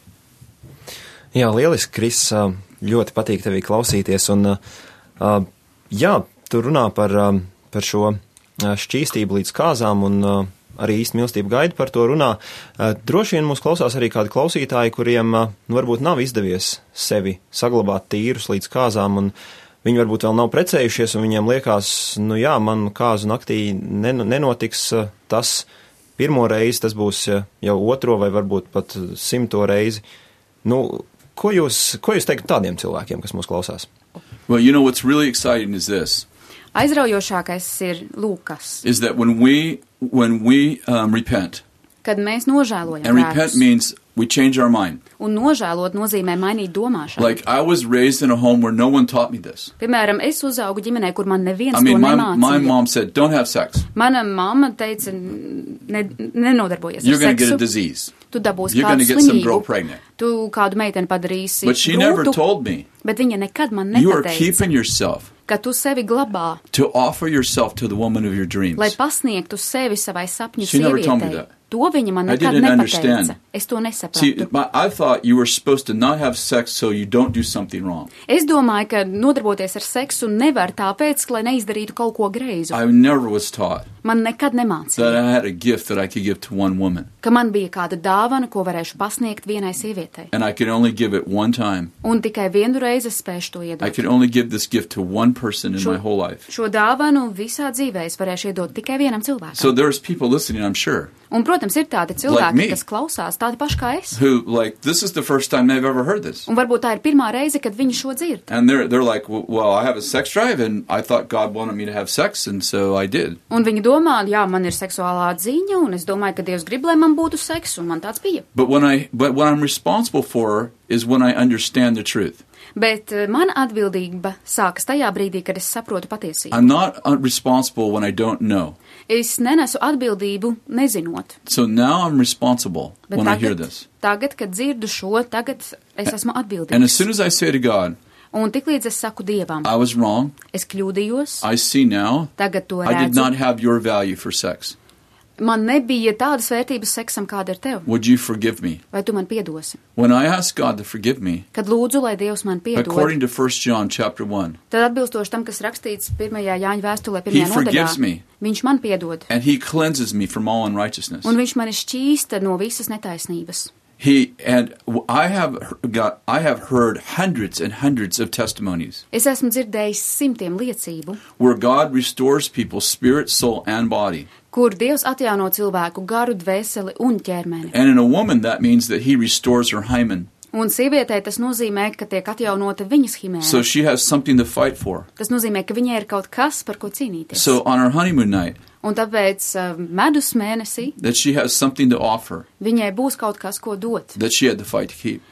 [SPEAKER 8] Jā, lieliski, Kris. ā, Ļoti patīk tevi klausīties. Un, ā, ā, jā, tu runā par, ā, par šo ā, šķīstību līdz kāzām, un ā, arī īsti mīlestību gaida par to runā. Ā, Droši vien mūs klausās arī kādi klausītāji, kuriem ā, nu, varbūt nav izdevies sevi saglabāt tīrus līdz kāzām. un Viņi varbūt vēl nav precējušies, un viņiem liekas, nu jā, man kāzu naktī nen- nenotiks ā, tas pirmo reizi, tas būs ā, jau otro vai varbūt pat ā, simto reizi. Nu, ko jūs, ko jūs teikt tādiem cilvēkiem, kas mūs klausās?
[SPEAKER 6] Well, you know what's really exciting is this:
[SPEAKER 7] Aizraujošākais ir Lūkas,
[SPEAKER 6] is that when we when we um, repent,
[SPEAKER 7] kad mēs nožēlojam
[SPEAKER 6] and repent
[SPEAKER 7] grēkus.
[SPEAKER 6] means we change our mind.
[SPEAKER 7] Un nožēlot nozīmē mainīt domāšanu.
[SPEAKER 6] Like I was raised in a home where no one taught me this.
[SPEAKER 7] Piemēram, es uzaugu ģimenē, kur man neviens
[SPEAKER 6] I mean,
[SPEAKER 7] to
[SPEAKER 6] my
[SPEAKER 7] nemācīja.
[SPEAKER 6] my mom said, "Don't have sex.
[SPEAKER 7] Mana mamma teica, ne, nenodarbojies
[SPEAKER 6] You're
[SPEAKER 7] ar
[SPEAKER 6] going to get a
[SPEAKER 7] seksu.
[SPEAKER 6] disease."
[SPEAKER 7] Tu dabūsi
[SPEAKER 6] You're gonna
[SPEAKER 7] kādu
[SPEAKER 6] get some girl
[SPEAKER 7] slimību.
[SPEAKER 6] pregnant.
[SPEAKER 7] Tu kādu meiteni padarīsi.
[SPEAKER 6] But she never
[SPEAKER 7] grūtu,
[SPEAKER 6] told me.
[SPEAKER 7] Bet viņa nekad man
[SPEAKER 6] You are
[SPEAKER 7] neteica,
[SPEAKER 6] keeping yourself
[SPEAKER 7] ka tu sevi glabā,
[SPEAKER 6] to offer yourself to the woman of your dreams.
[SPEAKER 7] lai pasniegtu sevi savai sapņu
[SPEAKER 6] She never told me
[SPEAKER 7] sievietei.
[SPEAKER 6] that.
[SPEAKER 7] To viņa man
[SPEAKER 6] I
[SPEAKER 7] nekad
[SPEAKER 6] didn't
[SPEAKER 7] nepateica.
[SPEAKER 6] understand.
[SPEAKER 7] Es to
[SPEAKER 6] See,
[SPEAKER 7] nesapratu.
[SPEAKER 6] my, I thought you were supposed to not have sex so you don't do something wrong.
[SPEAKER 7] Es domāju, ka nodarboties ar seksu nevar tāpēc, lai neizdarītu kaut ko greizu.
[SPEAKER 6] I never was taught
[SPEAKER 7] Man
[SPEAKER 6] that
[SPEAKER 7] nekad nemācīja,
[SPEAKER 6] I had a gift that I could give to one woman,
[SPEAKER 7] ka man bija kāda dāvana, ko varēšu pasniegt vienai sievietei.
[SPEAKER 6] and I could only give it one time.
[SPEAKER 7] Un tikai vienu reizi es spēšu to
[SPEAKER 6] I
[SPEAKER 7] iedot.
[SPEAKER 6] could only give this gift to one person in
[SPEAKER 7] Sure.
[SPEAKER 6] my whole life.
[SPEAKER 7] Šo dāvanu visā dzīvē es varēšu iedot tikai vienam cilvēkam.
[SPEAKER 6] So there's people listening, I'm sure,
[SPEAKER 7] Un, protams, ir tādi
[SPEAKER 6] Like
[SPEAKER 7] cilvēki,
[SPEAKER 6] me.
[SPEAKER 7] like kas klausās tādi paši kā es.
[SPEAKER 6] who like this is the first time they've ever heard this.
[SPEAKER 7] Un varbūt tā ir pirmā reize, kad viņi šo dzird.
[SPEAKER 6] And they're they're like, "Well, well, I have a sex drive, and I thought God wanted me to have sex, and so I did."
[SPEAKER 7] Un viņi domā, jā, man ir seksuālā ziņa, un es domāju, ka Dievs grib, lai man būtu seks, un man tāds bija.
[SPEAKER 6] But when I but what I'm responsible for is when I understand the truth.
[SPEAKER 7] Bet eh, mana atbildība sākas tajā brīdī, kad es saprotu patiesību.
[SPEAKER 6] I'm not uh, responsible when I don't know.
[SPEAKER 7] Es nenesu atbildību nezinot.
[SPEAKER 6] So now I'm responsible
[SPEAKER 7] Bet
[SPEAKER 6] when I hear
[SPEAKER 7] tagad,
[SPEAKER 6] this.
[SPEAKER 7] tagad, kad dzirdu šo, tagad es esmu
[SPEAKER 6] And as
[SPEAKER 7] atbildīgs.
[SPEAKER 6] soon as I say to God,
[SPEAKER 7] Un tiklīdz es saku Dievam,
[SPEAKER 6] I was wrong,
[SPEAKER 7] es kļūdījos,
[SPEAKER 6] I see now,
[SPEAKER 7] tagad to
[SPEAKER 6] I did
[SPEAKER 7] redzu.
[SPEAKER 6] not have your value for sex.
[SPEAKER 7] Man nebija tādas vērtības seksam, kāda ir tev.
[SPEAKER 6] Would you forgive me?
[SPEAKER 7] Vai tu man piedosi?
[SPEAKER 6] When I ask God to forgive me,
[SPEAKER 7] Kad lūdzu, lai Dievs man
[SPEAKER 6] according
[SPEAKER 7] piedod,
[SPEAKER 6] to 1 John chapter 1,
[SPEAKER 7] tad atbilstoši tam, kas rakstīts 1. Jāņa vēstulē, 1.
[SPEAKER 6] He forgives
[SPEAKER 7] nodaļā,
[SPEAKER 6] me.
[SPEAKER 7] viņš man piedod,
[SPEAKER 6] and he cleanses me from all unrighteousness.
[SPEAKER 7] un viņš man šķīsta no visas netaisnības.
[SPEAKER 6] He and w- I have he- got I have heard hundreds and hundreds of testimonies
[SPEAKER 7] Es esmu dzirdējis simtiem liecību,
[SPEAKER 6] where God restores people spirit, soul, and body.
[SPEAKER 7] kur Dievs atjauno cilvēku garu, dvēseli un ķermeni.
[SPEAKER 6] And in a woman that means that he restores her hymen.
[SPEAKER 7] Un sievietē tas nozīmē, ka tiek atjaunota viņas
[SPEAKER 6] So
[SPEAKER 7] himēna.
[SPEAKER 6] she has something to fight for.
[SPEAKER 7] Tas nozīmē, ka viņai ir kaut kas, par ko cīnīties.
[SPEAKER 6] So on her honeymoon night,
[SPEAKER 7] Un tāpēc eh, medus mēnesī
[SPEAKER 6] that she has something to offer
[SPEAKER 7] viņai būs kaut kas, ko dot.
[SPEAKER 6] that she had to fight to keep.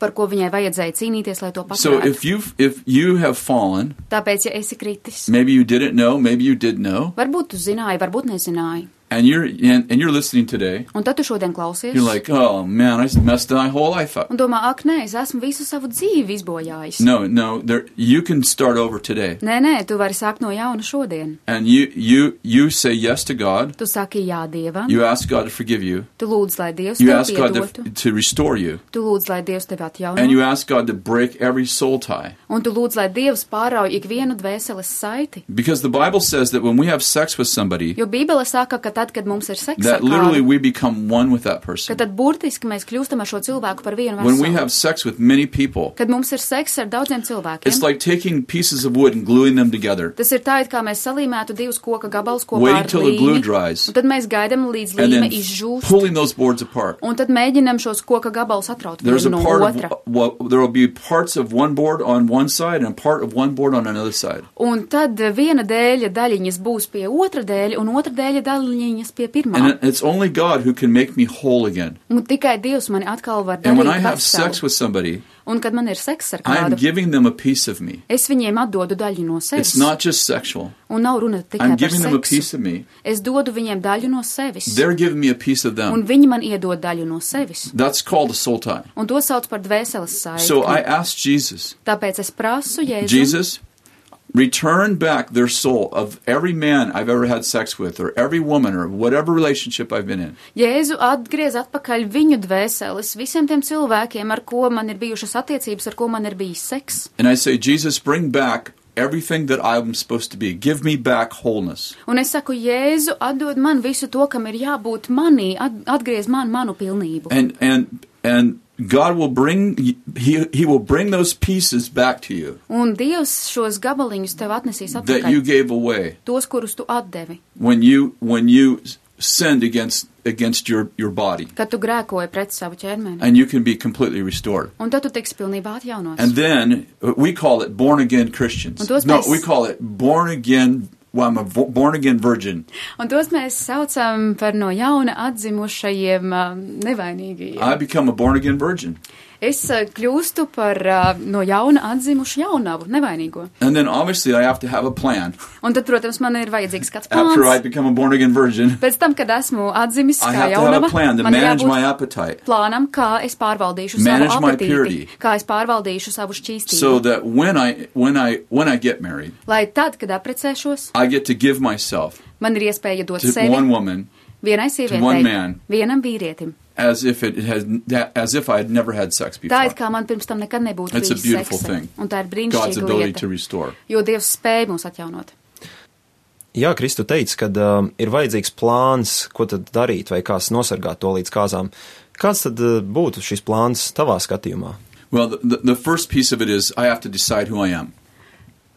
[SPEAKER 7] par ko viņai vajadzēja cīnīties, lai to
[SPEAKER 6] So
[SPEAKER 7] paturētu.
[SPEAKER 6] if you if you have fallen,
[SPEAKER 7] Tāpēc, ja esi kritis,
[SPEAKER 6] maybe you didn't know, maybe you did know,
[SPEAKER 7] varbūt tu zināji, varbūt nezināji,
[SPEAKER 6] and you're and, and you're listening today,
[SPEAKER 7] un tad tu šodien klausies
[SPEAKER 6] you're like, "Oh man, I messed my whole life up."
[SPEAKER 7] un domā, ak, nē, es esmu visu savu dzīvi izbojājis.
[SPEAKER 6] No, no, there you can start over today.
[SPEAKER 7] Nē, nē, tu vari sākt no jauna šodien.
[SPEAKER 6] And you you you say yes to God.
[SPEAKER 7] Tu saki jā Dievam,
[SPEAKER 6] You ask God to forgive you.
[SPEAKER 7] tu lūdz, lai Dievs
[SPEAKER 6] You
[SPEAKER 7] tev
[SPEAKER 6] ask God to,
[SPEAKER 7] piedotu,
[SPEAKER 6] to restore you.
[SPEAKER 7] tu lūdz, lai Dievs tevi
[SPEAKER 6] And you
[SPEAKER 7] atjauno,
[SPEAKER 6] ask God to break every soul tie.
[SPEAKER 7] un tu lūdz, lai Dievs pārauj ikvienu dvēseles saiti.
[SPEAKER 6] Because the Bible says that when we have sex with somebody,
[SPEAKER 7] Jo Bībele saka, ka tad, kad mums ir seks, ar
[SPEAKER 6] that literally
[SPEAKER 7] kādu,
[SPEAKER 6] we become one with that
[SPEAKER 7] ka
[SPEAKER 6] person.
[SPEAKER 7] tad burtiski mēs kļūstam ar šo cilvēku par vienu
[SPEAKER 6] When we have
[SPEAKER 7] veselu.
[SPEAKER 6] sex with many people,
[SPEAKER 7] Kad mums ir seks ar daudziem cilvēkiem,
[SPEAKER 6] it's like taking pieces of wood and gluing them together.
[SPEAKER 7] Tas ir tā, it kā mēs salīmētu divus koka gabalus kopā
[SPEAKER 6] Wait
[SPEAKER 7] ar
[SPEAKER 6] till the glue
[SPEAKER 7] līmi,
[SPEAKER 6] dries.
[SPEAKER 7] un tad mēs gaidām, līdz
[SPEAKER 6] And
[SPEAKER 7] līme
[SPEAKER 6] then
[SPEAKER 7] izžūst,
[SPEAKER 6] pulling those boards apart.
[SPEAKER 7] un tad mēģinām šos koka gabalus atraut
[SPEAKER 6] There's a
[SPEAKER 7] vienu no
[SPEAKER 6] part
[SPEAKER 7] otra.
[SPEAKER 6] of well, there will be parts of one board on one side and part of one board on another side.
[SPEAKER 7] Un tad viena dēļa daļiņas būs pie otra dēļa, un otra dēļa daļiņa cīņas pie pirmā.
[SPEAKER 6] And it's only God who can make me whole again.
[SPEAKER 7] Un tikai Dievs mani atkal var
[SPEAKER 6] And when I
[SPEAKER 7] darīt
[SPEAKER 6] have
[SPEAKER 7] veselu.
[SPEAKER 6] sex with somebody,
[SPEAKER 7] Un kad man ir seks ar
[SPEAKER 6] I am
[SPEAKER 7] kādu,
[SPEAKER 6] giving them a piece of me.
[SPEAKER 7] es viņiem atdodu daļu no sevis.
[SPEAKER 6] It's not just sexual.
[SPEAKER 7] Un nav runa tikai
[SPEAKER 6] I'm
[SPEAKER 7] par
[SPEAKER 6] giving them a
[SPEAKER 7] seksu.
[SPEAKER 6] piece of me.
[SPEAKER 7] Es dodu viņiem daļu no sevis.
[SPEAKER 6] They're giving me a piece of
[SPEAKER 7] Un
[SPEAKER 6] them.
[SPEAKER 7] viņi man iedod daļu no sevis.
[SPEAKER 6] That's called a soul tie.
[SPEAKER 7] Un to sauc par dvēseles saiti.
[SPEAKER 6] So I asked Jesus,
[SPEAKER 7] Tāpēc es prasu, Jēzu,
[SPEAKER 6] Jesus, return back their soul of every man I've ever had sex with, or every woman, or whatever relationship I've been in.
[SPEAKER 7] Jēzu atgriez atpakaļ viņu dvēseles, visiem tiem cilvēkiem, ar ko man ir bijušas attiecības, ar ko man ir bijis seks.
[SPEAKER 6] And I say, Jesus, bring back everything that I'm supposed to be. Give me back wholeness.
[SPEAKER 7] Un es saku, Jēzu, atdod man visu to, kam ir jābūt manī, at- atgriez man manu pilnību.
[SPEAKER 6] And and and God will bring he he will bring those pieces back to you
[SPEAKER 7] Un Dievs šos gabaliņus tev atnesīs
[SPEAKER 6] that you
[SPEAKER 7] atpakaļ,
[SPEAKER 6] gave away
[SPEAKER 7] tos, kurus tu atdevi,
[SPEAKER 6] when you when you sinned against against your your body.
[SPEAKER 7] kad tu grēkoji pret savu ķermeni.
[SPEAKER 6] And you can be completely restored.
[SPEAKER 7] Un tad tu tiksi pilnībā atjaunots.
[SPEAKER 6] And then uh, we call it born again Christians.
[SPEAKER 7] And those
[SPEAKER 6] No,
[SPEAKER 7] guys-
[SPEAKER 6] we call it born again. Well, I'm a vo- born again virgin.
[SPEAKER 7] Un tos mēs saucam par no jauna atzimušajiem ā, nevainīgajiem.
[SPEAKER 6] I become a born again virgin.
[SPEAKER 7] Es ā, kļūstu par ā, no jauna atzimušu jaunavu, nevainīgo.
[SPEAKER 6] And then obviously I have to have a plan.
[SPEAKER 7] Un tad, protams, man ir vajadzīgs kāds
[SPEAKER 6] After I
[SPEAKER 7] plāns.
[SPEAKER 6] become a born again virgin,
[SPEAKER 7] Pēc tam, kad esmu atzimis
[SPEAKER 6] I
[SPEAKER 7] kā
[SPEAKER 6] have to have
[SPEAKER 7] jaunava,
[SPEAKER 6] a plan to
[SPEAKER 7] man ir
[SPEAKER 6] manage my
[SPEAKER 7] jābūt
[SPEAKER 6] appetite
[SPEAKER 7] plānam, kā es pārvaldīšu savu
[SPEAKER 6] Manage my purity.
[SPEAKER 7] apetīti, kā es pārvaldīšu savu šķīstību.
[SPEAKER 6] so that when I when I when I get married,
[SPEAKER 7] Lai tad, kad apprecēšos,
[SPEAKER 6] I get to give myself
[SPEAKER 7] man ir iespēja dot
[SPEAKER 6] to
[SPEAKER 7] sevi
[SPEAKER 6] one woman one
[SPEAKER 7] vienai sievietei,
[SPEAKER 6] man.
[SPEAKER 7] vienam vīrietim.
[SPEAKER 6] as if it has as if I had never had sex before.
[SPEAKER 7] Tā it kā man pirms tam nekad nebūtu
[SPEAKER 6] It's a
[SPEAKER 7] bijis
[SPEAKER 6] beautiful
[SPEAKER 7] seksa.
[SPEAKER 6] thing.
[SPEAKER 7] Un tā ir
[SPEAKER 6] God's
[SPEAKER 7] brīnišķīga
[SPEAKER 6] ability to
[SPEAKER 7] lieta,
[SPEAKER 6] restore.
[SPEAKER 7] jo Dievs spēja mūs atjaunot.
[SPEAKER 8] Jā, Kristu teica, ka uh, ir vajadzīgs plāns, ko tad darīt, vai kāds nosargāt to līdz kāzām. Kāds tad uh, būtu šis plāns tavā skatījumā?
[SPEAKER 6] Well, the, the, the first piece of it is I have to decide who I am.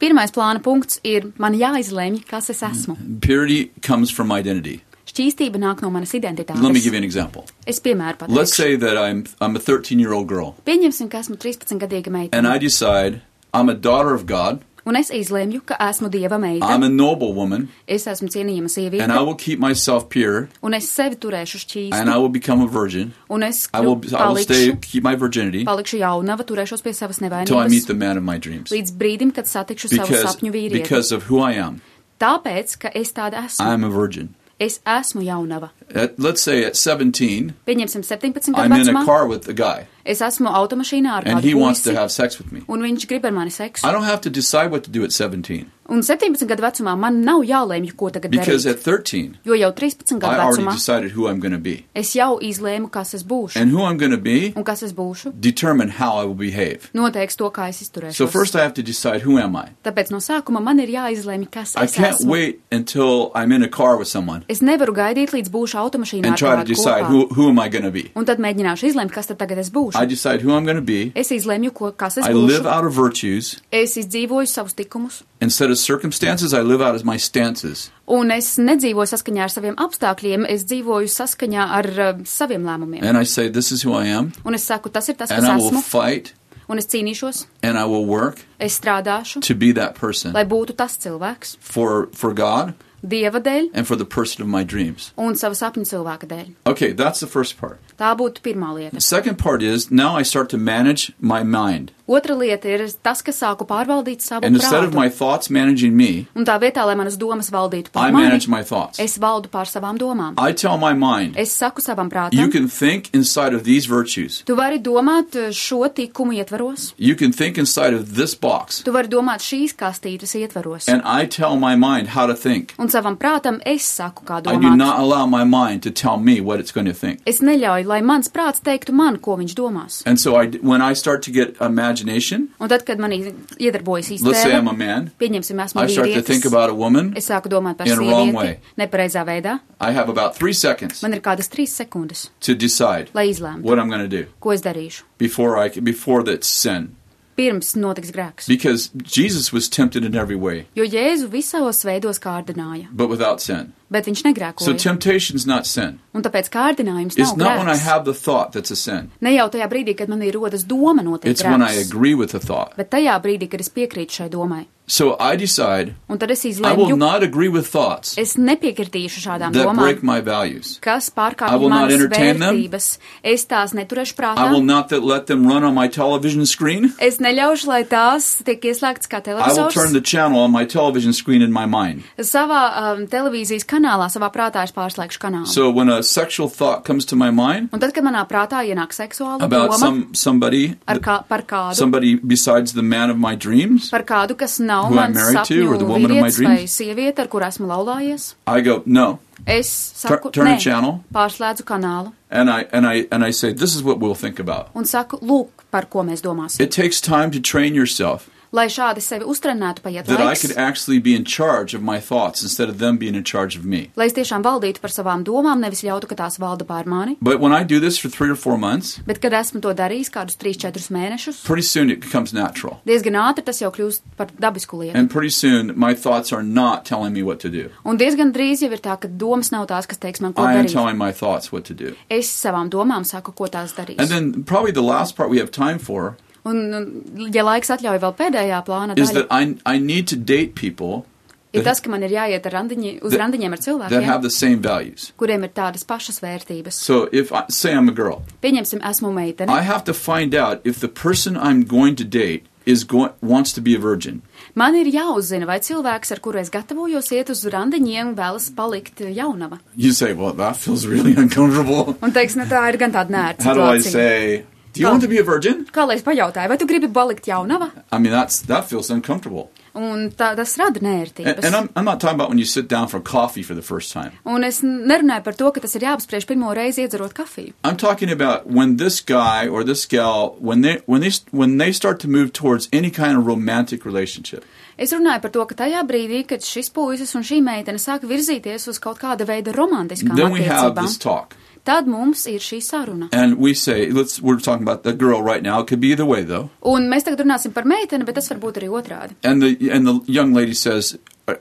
[SPEAKER 7] Pirmais plāna punkts ir man jāizlemj, kas es esmu.
[SPEAKER 6] Purity comes from identity.
[SPEAKER 7] Šķīstība nāk no manas
[SPEAKER 6] Let me give you
[SPEAKER 7] identitātes.
[SPEAKER 6] an example.
[SPEAKER 7] Es piemēru
[SPEAKER 6] Let's
[SPEAKER 7] pateikšu.
[SPEAKER 6] say that I'm I'm a 13 year old girl
[SPEAKER 7] Pieņemsim, ka esmu 13-gadīga
[SPEAKER 6] and
[SPEAKER 7] meitene,
[SPEAKER 6] I decide I'm a daughter of God.
[SPEAKER 7] un es izlemju, ka esmu dieva
[SPEAKER 6] I'm a
[SPEAKER 7] meitene.
[SPEAKER 6] noble woman,
[SPEAKER 7] Es esmu
[SPEAKER 6] and
[SPEAKER 7] cienījama
[SPEAKER 6] I
[SPEAKER 7] sieviete,
[SPEAKER 6] will keep myself pure,
[SPEAKER 7] un es sevi turēšu
[SPEAKER 6] and I
[SPEAKER 7] šķīstu,
[SPEAKER 6] will become a virgin.
[SPEAKER 7] un es
[SPEAKER 6] I will
[SPEAKER 7] kļu-
[SPEAKER 6] I will stay
[SPEAKER 7] palikšu,
[SPEAKER 6] keep my virginity
[SPEAKER 7] palikšu jaunava, turēšos pie savas
[SPEAKER 6] until I meet the
[SPEAKER 7] nevainības.
[SPEAKER 6] man of my dreams.
[SPEAKER 7] Līdz brīdim, kad satikšu savu
[SPEAKER 6] Because,
[SPEAKER 7] sapņu vīrieti.
[SPEAKER 6] because of who I am,
[SPEAKER 7] Tāpēc, ka es tāda
[SPEAKER 6] I
[SPEAKER 7] esmu.
[SPEAKER 6] am a virgin.
[SPEAKER 7] Es esmu jaunava.
[SPEAKER 6] At, let's say at 17,
[SPEAKER 7] Pieņemsim 17
[SPEAKER 6] I'm
[SPEAKER 7] gadu
[SPEAKER 6] in a
[SPEAKER 7] vecumā.
[SPEAKER 6] car with a guy,
[SPEAKER 7] Es esmu automašīnā ar
[SPEAKER 6] and
[SPEAKER 7] kādu
[SPEAKER 6] he wants to
[SPEAKER 7] puisi,
[SPEAKER 6] have sex with me.
[SPEAKER 7] un viņš grib ar mani seksu.
[SPEAKER 6] I don't have to decide what to do at 17,
[SPEAKER 7] Un 17 gadu vecumā man nav jālēmj, ko tagad
[SPEAKER 6] because at
[SPEAKER 7] darīt.
[SPEAKER 6] 13,
[SPEAKER 7] Jo jau 13
[SPEAKER 6] I
[SPEAKER 7] gadu
[SPEAKER 6] already
[SPEAKER 7] vecumā
[SPEAKER 6] decided who I'm going to be.
[SPEAKER 7] es jau izlēmu, kas es būšu.
[SPEAKER 6] And who I'm going to be
[SPEAKER 7] Un kas es būšu,
[SPEAKER 6] determine how I will behave.
[SPEAKER 7] noteiks to, kā es
[SPEAKER 6] So first
[SPEAKER 7] izturēšos.
[SPEAKER 6] I have to decide who am I?
[SPEAKER 7] Tāpēc no sākuma man ir jāizlēmj, kas
[SPEAKER 6] I
[SPEAKER 7] es
[SPEAKER 6] can't
[SPEAKER 7] esmu.
[SPEAKER 6] wait until I'm in a car with someone
[SPEAKER 7] Es nevaru gaidīt, līdz būšu automašīnā
[SPEAKER 6] and
[SPEAKER 7] ar
[SPEAKER 6] try to
[SPEAKER 7] kādu
[SPEAKER 6] decide
[SPEAKER 7] kopā.
[SPEAKER 6] who, who am I going to be.
[SPEAKER 7] Un tad mēģināšu izlemt, kas tad tagad es
[SPEAKER 6] I
[SPEAKER 7] būšu.
[SPEAKER 6] decide who I'm going to be.
[SPEAKER 7] Es izlemju, ko, kas es
[SPEAKER 6] I live
[SPEAKER 7] būšu.
[SPEAKER 6] out of virtues.
[SPEAKER 7] Es izdzīvoju savus tikumus.
[SPEAKER 6] Instead of circumstances, I live out of my stances.
[SPEAKER 7] Un es nedzīvoju saskaņā ar saviem apstākļiem, es dzīvoju saskaņā ar uh, saviem lēmumiem.
[SPEAKER 6] And I say, this is who I am.
[SPEAKER 7] Un es saku, tas ir tas,
[SPEAKER 6] And
[SPEAKER 7] kas
[SPEAKER 6] I will
[SPEAKER 7] esmu.
[SPEAKER 6] fight
[SPEAKER 7] Un es cīnīšos,
[SPEAKER 6] and I will work
[SPEAKER 7] es strādāšu,
[SPEAKER 6] to be that person
[SPEAKER 7] lai būtu tas cilvēks,
[SPEAKER 6] for, for God
[SPEAKER 7] dieva dēļ
[SPEAKER 6] and for the person of my dreams.
[SPEAKER 7] un savu sapņu cilvēka dēļ.
[SPEAKER 6] Okay, that's the first part.
[SPEAKER 7] Tā būtu pirmā lieta.
[SPEAKER 6] The second part is now I start to manage my mind.
[SPEAKER 7] Otra lieta ir tas, ka sāku pārvaldīt savu
[SPEAKER 6] And instead of
[SPEAKER 7] prātu.
[SPEAKER 6] my thoughts managing me,
[SPEAKER 7] Un tā vietā, lai manas domas valdītu
[SPEAKER 6] I
[SPEAKER 7] pār
[SPEAKER 6] manage my
[SPEAKER 7] mani,
[SPEAKER 6] thoughts.
[SPEAKER 7] es valdu pār savām domām.
[SPEAKER 6] I tell my mind,
[SPEAKER 7] Es saku savam
[SPEAKER 6] you
[SPEAKER 7] prātam,
[SPEAKER 6] can think inside of these virtues.
[SPEAKER 7] tu vari domāt uh, šo tikumu ietvaros,
[SPEAKER 6] You can think inside of this box.
[SPEAKER 7] tu vari domāt šīs kastītes ietvaros.
[SPEAKER 6] And I tell my mind how to think.
[SPEAKER 7] Un savam prātam es saku, kā
[SPEAKER 6] I do
[SPEAKER 7] domāt.
[SPEAKER 6] not allow my mind to tell me what it's going to think.
[SPEAKER 7] Es neļauju, lai mans prāts teiktu man, ko viņš domās.
[SPEAKER 6] And so I, when I start to get imagination,
[SPEAKER 7] Un tad, kad manī iedarbojas
[SPEAKER 6] let's say I'm a
[SPEAKER 7] īstenībā,
[SPEAKER 6] man,
[SPEAKER 7] pieņemsim, esmu
[SPEAKER 6] I start to think
[SPEAKER 7] vīrietis,
[SPEAKER 6] about a woman.
[SPEAKER 7] es sāku domāt par
[SPEAKER 6] in a wrong way.
[SPEAKER 7] sievieti, nepareizā veidā.
[SPEAKER 6] I have about three seconds
[SPEAKER 7] Man ir kādas trīs sekundes,
[SPEAKER 6] to decide
[SPEAKER 7] lai izlēmtu,
[SPEAKER 6] what I'm going to do
[SPEAKER 7] ko es darīšu.
[SPEAKER 6] before I before that's sin.
[SPEAKER 7] Pirms notiks grēks.
[SPEAKER 6] Because Jesus was tempted in every way,
[SPEAKER 7] Jo Jēzu visos veidos kārdināja,
[SPEAKER 6] but without sin.
[SPEAKER 7] bet viņš negrēkoja.
[SPEAKER 6] So temptation's not sin.
[SPEAKER 7] un tāpēc kārdinājums
[SPEAKER 6] It's
[SPEAKER 7] nav
[SPEAKER 6] not when I
[SPEAKER 7] grēks.
[SPEAKER 6] have the thought that's a sin.
[SPEAKER 7] Ne jau tajā brīdī, kad man ir rodas doma notiek
[SPEAKER 6] It's when I
[SPEAKER 7] grēks,
[SPEAKER 6] agree with the thought.
[SPEAKER 7] bet tajā brīdī, kad es piekrītu šai domai.
[SPEAKER 6] So I decide
[SPEAKER 7] Un tad es
[SPEAKER 6] I will
[SPEAKER 7] izlēmu,
[SPEAKER 6] not agree with thoughts
[SPEAKER 7] es nepiekritīšu šādām
[SPEAKER 6] that break
[SPEAKER 7] domām,
[SPEAKER 6] my values.
[SPEAKER 7] kas
[SPEAKER 6] I will
[SPEAKER 7] pārkāpj
[SPEAKER 6] not
[SPEAKER 7] manas
[SPEAKER 6] entertain them.
[SPEAKER 7] vērtības. Es tās neturēšu prātā.
[SPEAKER 6] I will not that let them run on my television screen.
[SPEAKER 7] Es neļaušu, lai tās tiek ieslēgtas kā
[SPEAKER 6] I will turn
[SPEAKER 7] televizors.
[SPEAKER 6] the channel on my television screen in my mind.
[SPEAKER 7] Savā um, televīzijas kanālā, savā prātā es pārslēgšu kanālu.
[SPEAKER 6] So when a sexual thought comes to my mind
[SPEAKER 7] Un tad, kad manā prātā ienāk seksuāla
[SPEAKER 6] about
[SPEAKER 7] doma
[SPEAKER 6] some somebody
[SPEAKER 7] ar kā, par kādu,
[SPEAKER 6] somebody besides the man of my dreams,
[SPEAKER 7] par kādu, kas nav
[SPEAKER 6] who I'm
[SPEAKER 7] mans
[SPEAKER 6] married to, or the
[SPEAKER 7] sapņu
[SPEAKER 6] woman of my
[SPEAKER 7] vīrietis vai
[SPEAKER 6] dreams?
[SPEAKER 7] sieviete, ar kur esmu laulājies,
[SPEAKER 6] I go, "No."
[SPEAKER 7] es saku,
[SPEAKER 6] turn the
[SPEAKER 7] nē,
[SPEAKER 6] channel.
[SPEAKER 7] pārslēdzu kanālu
[SPEAKER 6] And I and I and I say, "This is what we'll think about."
[SPEAKER 7] un saku, lūk, par ko mēs domāsim.
[SPEAKER 6] It takes time to train yourself
[SPEAKER 7] Lai šādi sevi uztrenētu paiet
[SPEAKER 6] that I
[SPEAKER 7] laiks,
[SPEAKER 6] could actually be in charge of my thoughts instead of them being in charge of me.
[SPEAKER 7] lai es tiešām valdītu par savām domām, nevis ļautu, ka tās valda pār mani.
[SPEAKER 6] But when I do this for 3 or 4 months,
[SPEAKER 7] Bet, kad esmu to darījis kādus 3-4 mēnešus,
[SPEAKER 6] pretty soon it becomes natural.
[SPEAKER 7] diezgan ātri tas jau kļūst par dabisku lietu.
[SPEAKER 6] And pretty soon my thoughts are not telling me what to do.
[SPEAKER 7] Un diezgan drīz jau ir tā, ka domas nav tās, kas teiks man, ko
[SPEAKER 6] I am
[SPEAKER 7] darīt.
[SPEAKER 6] telling my thoughts what to do.
[SPEAKER 7] Es savām domām saku, ko
[SPEAKER 6] And
[SPEAKER 7] tās darīs.
[SPEAKER 6] then probably the last part we have time for
[SPEAKER 7] Un, un, ja laiks atļauj vēl pēdējā plāna
[SPEAKER 6] is that
[SPEAKER 7] daļa,
[SPEAKER 6] I I need to date people
[SPEAKER 7] ir tas, ka man ir jāiet ar randiņi, uz
[SPEAKER 6] that-
[SPEAKER 7] randiņiem ar
[SPEAKER 6] that have
[SPEAKER 7] cilvēkiem,
[SPEAKER 6] the same values.
[SPEAKER 7] kuriem ir tādas pašas vērtības.
[SPEAKER 6] So if I say I'm a girl,
[SPEAKER 7] Pieņemsim, esmu meitene.
[SPEAKER 6] I have to find out if the person I'm going to date is going wants to be a virgin.
[SPEAKER 7] Man ir jāuzzina, vai cilvēks, ar kuru es gatavojos iet uz randiņiem, vēlas palikt jaunava.
[SPEAKER 6] You say, "Well, that feels really (laughs) uncomfortable."
[SPEAKER 7] Un teiks, ne tā ir gan tāda nērta
[SPEAKER 6] How do I
[SPEAKER 7] situācija.
[SPEAKER 6] say, "Do you want to be a virgin?"
[SPEAKER 7] Kā lai es pajautāju, vai tu gribi palikt jaunava?
[SPEAKER 6] I mean, that's that feels uncomfortable.
[SPEAKER 7] Un tā, tas rada
[SPEAKER 6] And, and
[SPEAKER 7] nērtības.
[SPEAKER 6] I'm, I'm not talking about when you sit down for coffee for the first time.
[SPEAKER 7] Un es nerunāju par to, ka tas ir jāapspriež pirmo reizi iedzerot kafiju.
[SPEAKER 6] I'm talking about when this guy or this gal when they when they when they start to move towards any kind of romantic relationship.
[SPEAKER 7] Es runāju par to, ka tajā brīdī, kad šis puisis un šī meitene sāk virzīties uz kaut kāda veida romantiskām
[SPEAKER 6] then we have
[SPEAKER 7] attiecībām,
[SPEAKER 6] this talk.
[SPEAKER 7] tad mums ir šī saruna.
[SPEAKER 6] And we say, let's we're talking about the girl right now. It could be either way though.
[SPEAKER 7] Un mēs tagad runāsim par meiteni, bet tas var būt arī otrādi.
[SPEAKER 6] And the and the young lady says, "Are,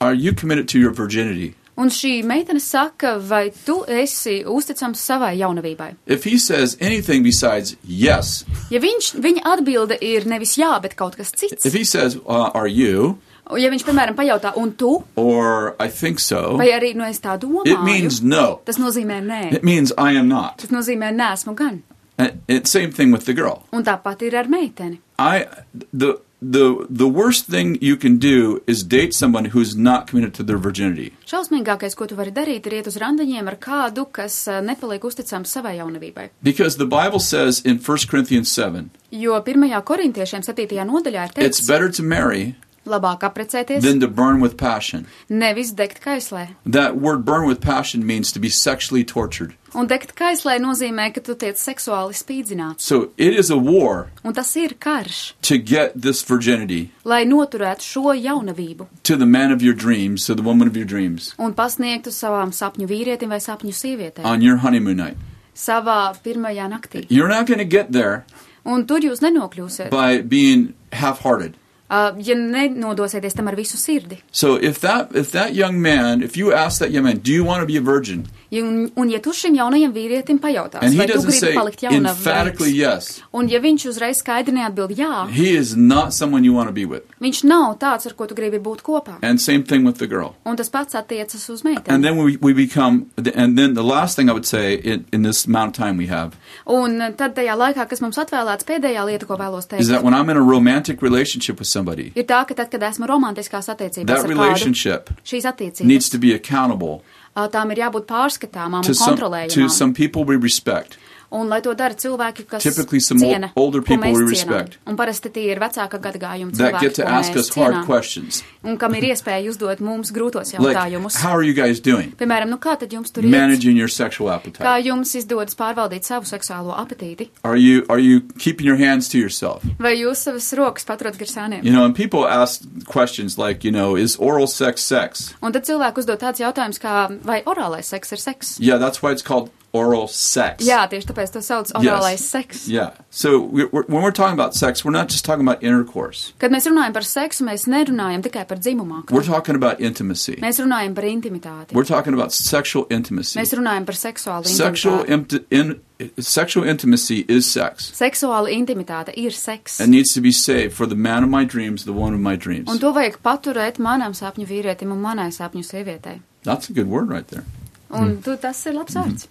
[SPEAKER 6] are you committed to your virginity?"
[SPEAKER 7] Un šī meitene saka, vai tu esi uzticams savai jaunavībai?
[SPEAKER 6] If he says anything besides yes,
[SPEAKER 7] Ja viņš, viņa atbilde ir nevis jā, bet kaut kas cits.
[SPEAKER 6] if he says, uh, "Are you?"
[SPEAKER 7] Ja viņš, piemēram, pajautā, un tu,
[SPEAKER 6] or "I think so,"
[SPEAKER 7] vai arī, nu, es tā
[SPEAKER 6] it means
[SPEAKER 7] domāju,
[SPEAKER 6] no.
[SPEAKER 7] tas nozīmē nē.
[SPEAKER 6] It means I am not.
[SPEAKER 7] Tas nozīmē nē, esmu gan.
[SPEAKER 6] And Uh, it, same thing with the girl.
[SPEAKER 7] Un tāpat ir ar meiteni.
[SPEAKER 6] I the the the worst thing you can do is date someone who's not committed to their virginity.
[SPEAKER 7] Šausmīgākais, ko tu vari darīt, ir iet uz randiņiem ar kādu, kas eh, nepaliek uzticams savai jaunavībai.
[SPEAKER 6] Because the Bible says in 1 Corinthians 7,
[SPEAKER 7] Jo pirmajā korintiešiem 7. nodaļā ir
[SPEAKER 6] it's
[SPEAKER 7] teikts,
[SPEAKER 6] better to marry
[SPEAKER 7] labāk apprecēties,
[SPEAKER 6] than to burn with passion.
[SPEAKER 7] nevis degt kaislē.
[SPEAKER 6] That word burn with passion means to be sexually tortured.
[SPEAKER 7] Un degt kaislē nozīmē, ka tu tiec seksuāli spīdzināts.
[SPEAKER 6] So it is a war
[SPEAKER 7] Un tas ir karš,
[SPEAKER 6] to get this virginity
[SPEAKER 7] lai noturētu šo jaunavību
[SPEAKER 6] to the man of your dreams, to the woman of your dreams
[SPEAKER 7] un pasniegtu savām sapņu vīrietim vai sapņu sievietēm
[SPEAKER 6] on your honeymoon night.
[SPEAKER 7] savā pirmajā naktī.
[SPEAKER 6] You're not going to get there
[SPEAKER 7] Un tur jūs nenokļūsiet,
[SPEAKER 6] by being half-hearted.
[SPEAKER 7] ah, ja nenodosieties tam ar visu sirdi.
[SPEAKER 6] So if that if that young man, if you ask that young man, do you want to be a virgin?
[SPEAKER 7] Ja, un, un ja tu šim jaunajam vīrietim pajautās,
[SPEAKER 6] And he
[SPEAKER 7] vai tu
[SPEAKER 6] doesn't
[SPEAKER 7] gribi
[SPEAKER 6] say
[SPEAKER 7] palikt jaunā
[SPEAKER 6] emphatically yes.
[SPEAKER 7] un ja viņš uzreiz skaidri neatbild jā,
[SPEAKER 6] He is not someone you want to be with.
[SPEAKER 7] viņš nav tāds, ar ko tu gribi būt kopā.
[SPEAKER 6] And same thing with the girl.
[SPEAKER 7] Un tas pats attiecas uz
[SPEAKER 6] And
[SPEAKER 7] meiteni.
[SPEAKER 6] then we, we become, and then the last thing I would say in, in this amount of time we have
[SPEAKER 7] Un tad tajā laikā, kas mums atvēlēts, pēdējā lieta, ko vēlos
[SPEAKER 6] is that
[SPEAKER 7] teikt,
[SPEAKER 6] when I'm in a romantic relationship with somebody,
[SPEAKER 7] ir tā, ka tad, kad esmu romantiskās attiecībās,
[SPEAKER 6] that
[SPEAKER 7] ar kādu,
[SPEAKER 6] relationship
[SPEAKER 7] šīs attiecības,
[SPEAKER 6] needs to be accountable
[SPEAKER 7] ā, tām ir jābūt pārskatāmām
[SPEAKER 6] to some,
[SPEAKER 7] un
[SPEAKER 6] to
[SPEAKER 7] kontrolējamām.
[SPEAKER 6] some people we respect.
[SPEAKER 7] Un lai to dara cilvēki, kas
[SPEAKER 6] Typically some ol-
[SPEAKER 7] ciena,
[SPEAKER 6] older
[SPEAKER 7] ko
[SPEAKER 6] people
[SPEAKER 7] mēs
[SPEAKER 6] we
[SPEAKER 7] cienām.
[SPEAKER 6] respect.
[SPEAKER 7] Un parasti tie ir vecāka gadagājuma
[SPEAKER 6] That
[SPEAKER 7] cilvēki,
[SPEAKER 6] get to
[SPEAKER 7] ko
[SPEAKER 6] ask
[SPEAKER 7] mēs
[SPEAKER 6] us hard
[SPEAKER 7] cienām.
[SPEAKER 6] questions.
[SPEAKER 7] Un kam ir iespēja uzdot mums grūtos
[SPEAKER 6] Like,
[SPEAKER 7] jautājumus.
[SPEAKER 6] how are you guys doing?
[SPEAKER 7] Piemēram, nu kā tad jums tur ir?
[SPEAKER 6] Managing your sexual
[SPEAKER 7] Kā
[SPEAKER 6] appetite.
[SPEAKER 7] jums izdodas pārvaldīt savu seksuālo apetīti?
[SPEAKER 6] Are you, are you keeping your hands to yourself?
[SPEAKER 7] Vai jūs savas rokas paturat gar sāniem?
[SPEAKER 6] You know, and people ask questions like, you know, is oral sex sex?
[SPEAKER 7] Un tad cilvēku uzdod tāds jautājums, kā vai orālais seks ir seks?
[SPEAKER 6] Yeah, that's why it's called oral sex.
[SPEAKER 7] Jā, tieši tāpēc to sauc orālais seks.
[SPEAKER 6] Yeah. So we we're, when we're talking about sex, we're not just talking about intercourse.
[SPEAKER 7] Kad mēs runājam par seksu, mēs nerunājam tikai par dzimumā.
[SPEAKER 6] We're talking about intimacy.
[SPEAKER 7] Mēs runājam par intimitāti.
[SPEAKER 6] We're talking about sexual intimacy.
[SPEAKER 7] Mēs runājam par seksuālu
[SPEAKER 6] Sexual
[SPEAKER 7] intimitāti.
[SPEAKER 6] inti- in, sexual intimacy is sex.
[SPEAKER 7] Seksuāla intimitāte ir seks.
[SPEAKER 6] It needs to be saved for the man of my dreams, the one of my dreams.
[SPEAKER 7] Un to vajag paturēt manam sapņu vīrietim un manai sapņu sievietei.
[SPEAKER 6] That's a good word right there. Mm.
[SPEAKER 7] Un tu, tas ir labs vārds.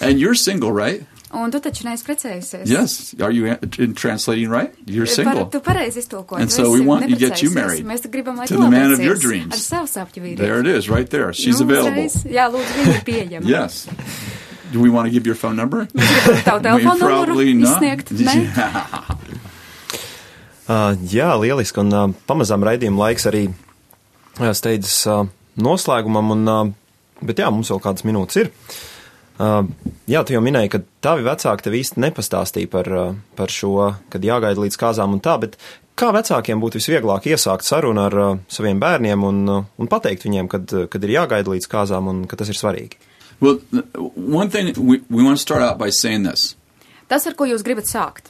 [SPEAKER 6] And you're single, right?
[SPEAKER 7] Un tu taču neesi precējusies.
[SPEAKER 6] Mm. Yes. Are you an- in translating right? You're
[SPEAKER 7] Par,
[SPEAKER 6] single.
[SPEAKER 7] tu pareizi iztulkoji.
[SPEAKER 6] And
[SPEAKER 7] tu
[SPEAKER 6] so
[SPEAKER 7] esi
[SPEAKER 6] we want to get you
[SPEAKER 7] neprecējusies.
[SPEAKER 6] married
[SPEAKER 7] Mēs te gribam, lai
[SPEAKER 6] to
[SPEAKER 7] tu
[SPEAKER 6] the man of
[SPEAKER 7] labēcies
[SPEAKER 6] your dreams.
[SPEAKER 7] Ar savu sapņu vīrieti.
[SPEAKER 6] There it is, right there. She's
[SPEAKER 7] Nu,
[SPEAKER 6] available.
[SPEAKER 7] uzreiz. Jā, lūdzu, viņa ir pieejama.
[SPEAKER 6] Yes. Do we want to give your phone number?
[SPEAKER 7] Tavu telefonu numuru
[SPEAKER 6] probably not.
[SPEAKER 7] izsniegt. Nē?
[SPEAKER 8] Uh, jā, lieliski. Un uh, pamazām raidījuma laiks arī uh, steidzas uh, noslēgumam. Un, uh, bet jā, mums vēl kādas minūtes ir. Uh, jā, tu jau minēji, ka tavi vecāki tev īsti nepastāstīja par, uh, par šo, kad jāgaida līdz kāzām un tā, bet kā vecākiem būtu visvieglāk iesākt sarunu ar uh, saviem bērniem un, uh, un pateikt viņiem, kad, uh, kad ir jāgaida līdz kāzām un ka tas ir svarīgi?
[SPEAKER 6] Well, th- one thing we, we want to start out by saying this
[SPEAKER 7] Tas, ar ko jūs gribat sākt.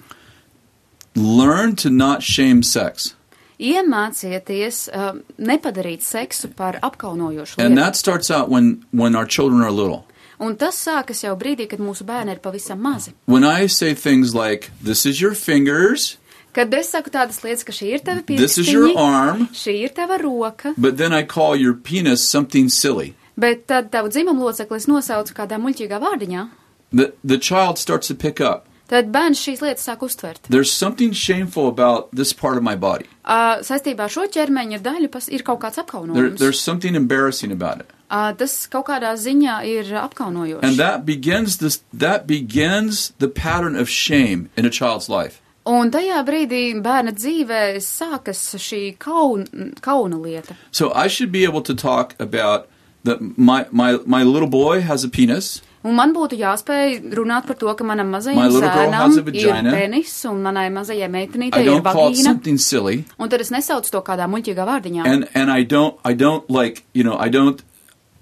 [SPEAKER 6] learn to not shame sex.
[SPEAKER 7] Iemācieties uh, nepadarīt seksu par apkaunojošu
[SPEAKER 6] And
[SPEAKER 7] lietu.
[SPEAKER 6] that starts out when, when our children are little.
[SPEAKER 7] Un tas sākas jau brīdī, kad mūsu bērni ir pavisam mazi.
[SPEAKER 6] When I say things like, this is your fingers,
[SPEAKER 7] Kad es saku tādas lietas, ka šī ir tava
[SPEAKER 6] This is your arm.
[SPEAKER 7] pierakstiņa, šī ir tava roka,
[SPEAKER 6] but then I call your penis something silly,
[SPEAKER 7] bet tad tavu dzimumloceklis nosaucu kādā muļķīgā vārdiņā,
[SPEAKER 6] the, the child starts to pick up.
[SPEAKER 7] tad bērns šīs lietas sāk uztvert.
[SPEAKER 6] There's something shameful about this part of my body.
[SPEAKER 7] Uh, saistībā ar šo ķermeņa daļu pas, ir kaut kāds
[SPEAKER 6] There,
[SPEAKER 7] apkaunojums.
[SPEAKER 6] there's something embarrassing about it.
[SPEAKER 7] uh, tas kaut kādā ziņā ir apkaunojošs.
[SPEAKER 6] And that begins this that begins the pattern of shame in a child's life.
[SPEAKER 7] Un tajā brīdī bērna dzīvē sākas šī kauna, kauna lieta.
[SPEAKER 6] So I should be able to talk about that my, my my little boy has a penis.
[SPEAKER 7] Un man būtu jāspēj runāt par to, ka manam
[SPEAKER 6] My
[SPEAKER 7] mazajam
[SPEAKER 6] little girl
[SPEAKER 7] zēnam
[SPEAKER 6] has a
[SPEAKER 7] ir
[SPEAKER 6] vagina.
[SPEAKER 7] penis un manai mazajai meitenītei
[SPEAKER 6] I
[SPEAKER 7] ir
[SPEAKER 6] don't call it
[SPEAKER 7] vagīna.
[SPEAKER 6] something silly.
[SPEAKER 7] Un tad es nesaucu to kādā muļķīgā vārdiņā.
[SPEAKER 6] And and I don't I don't like, you know, I don't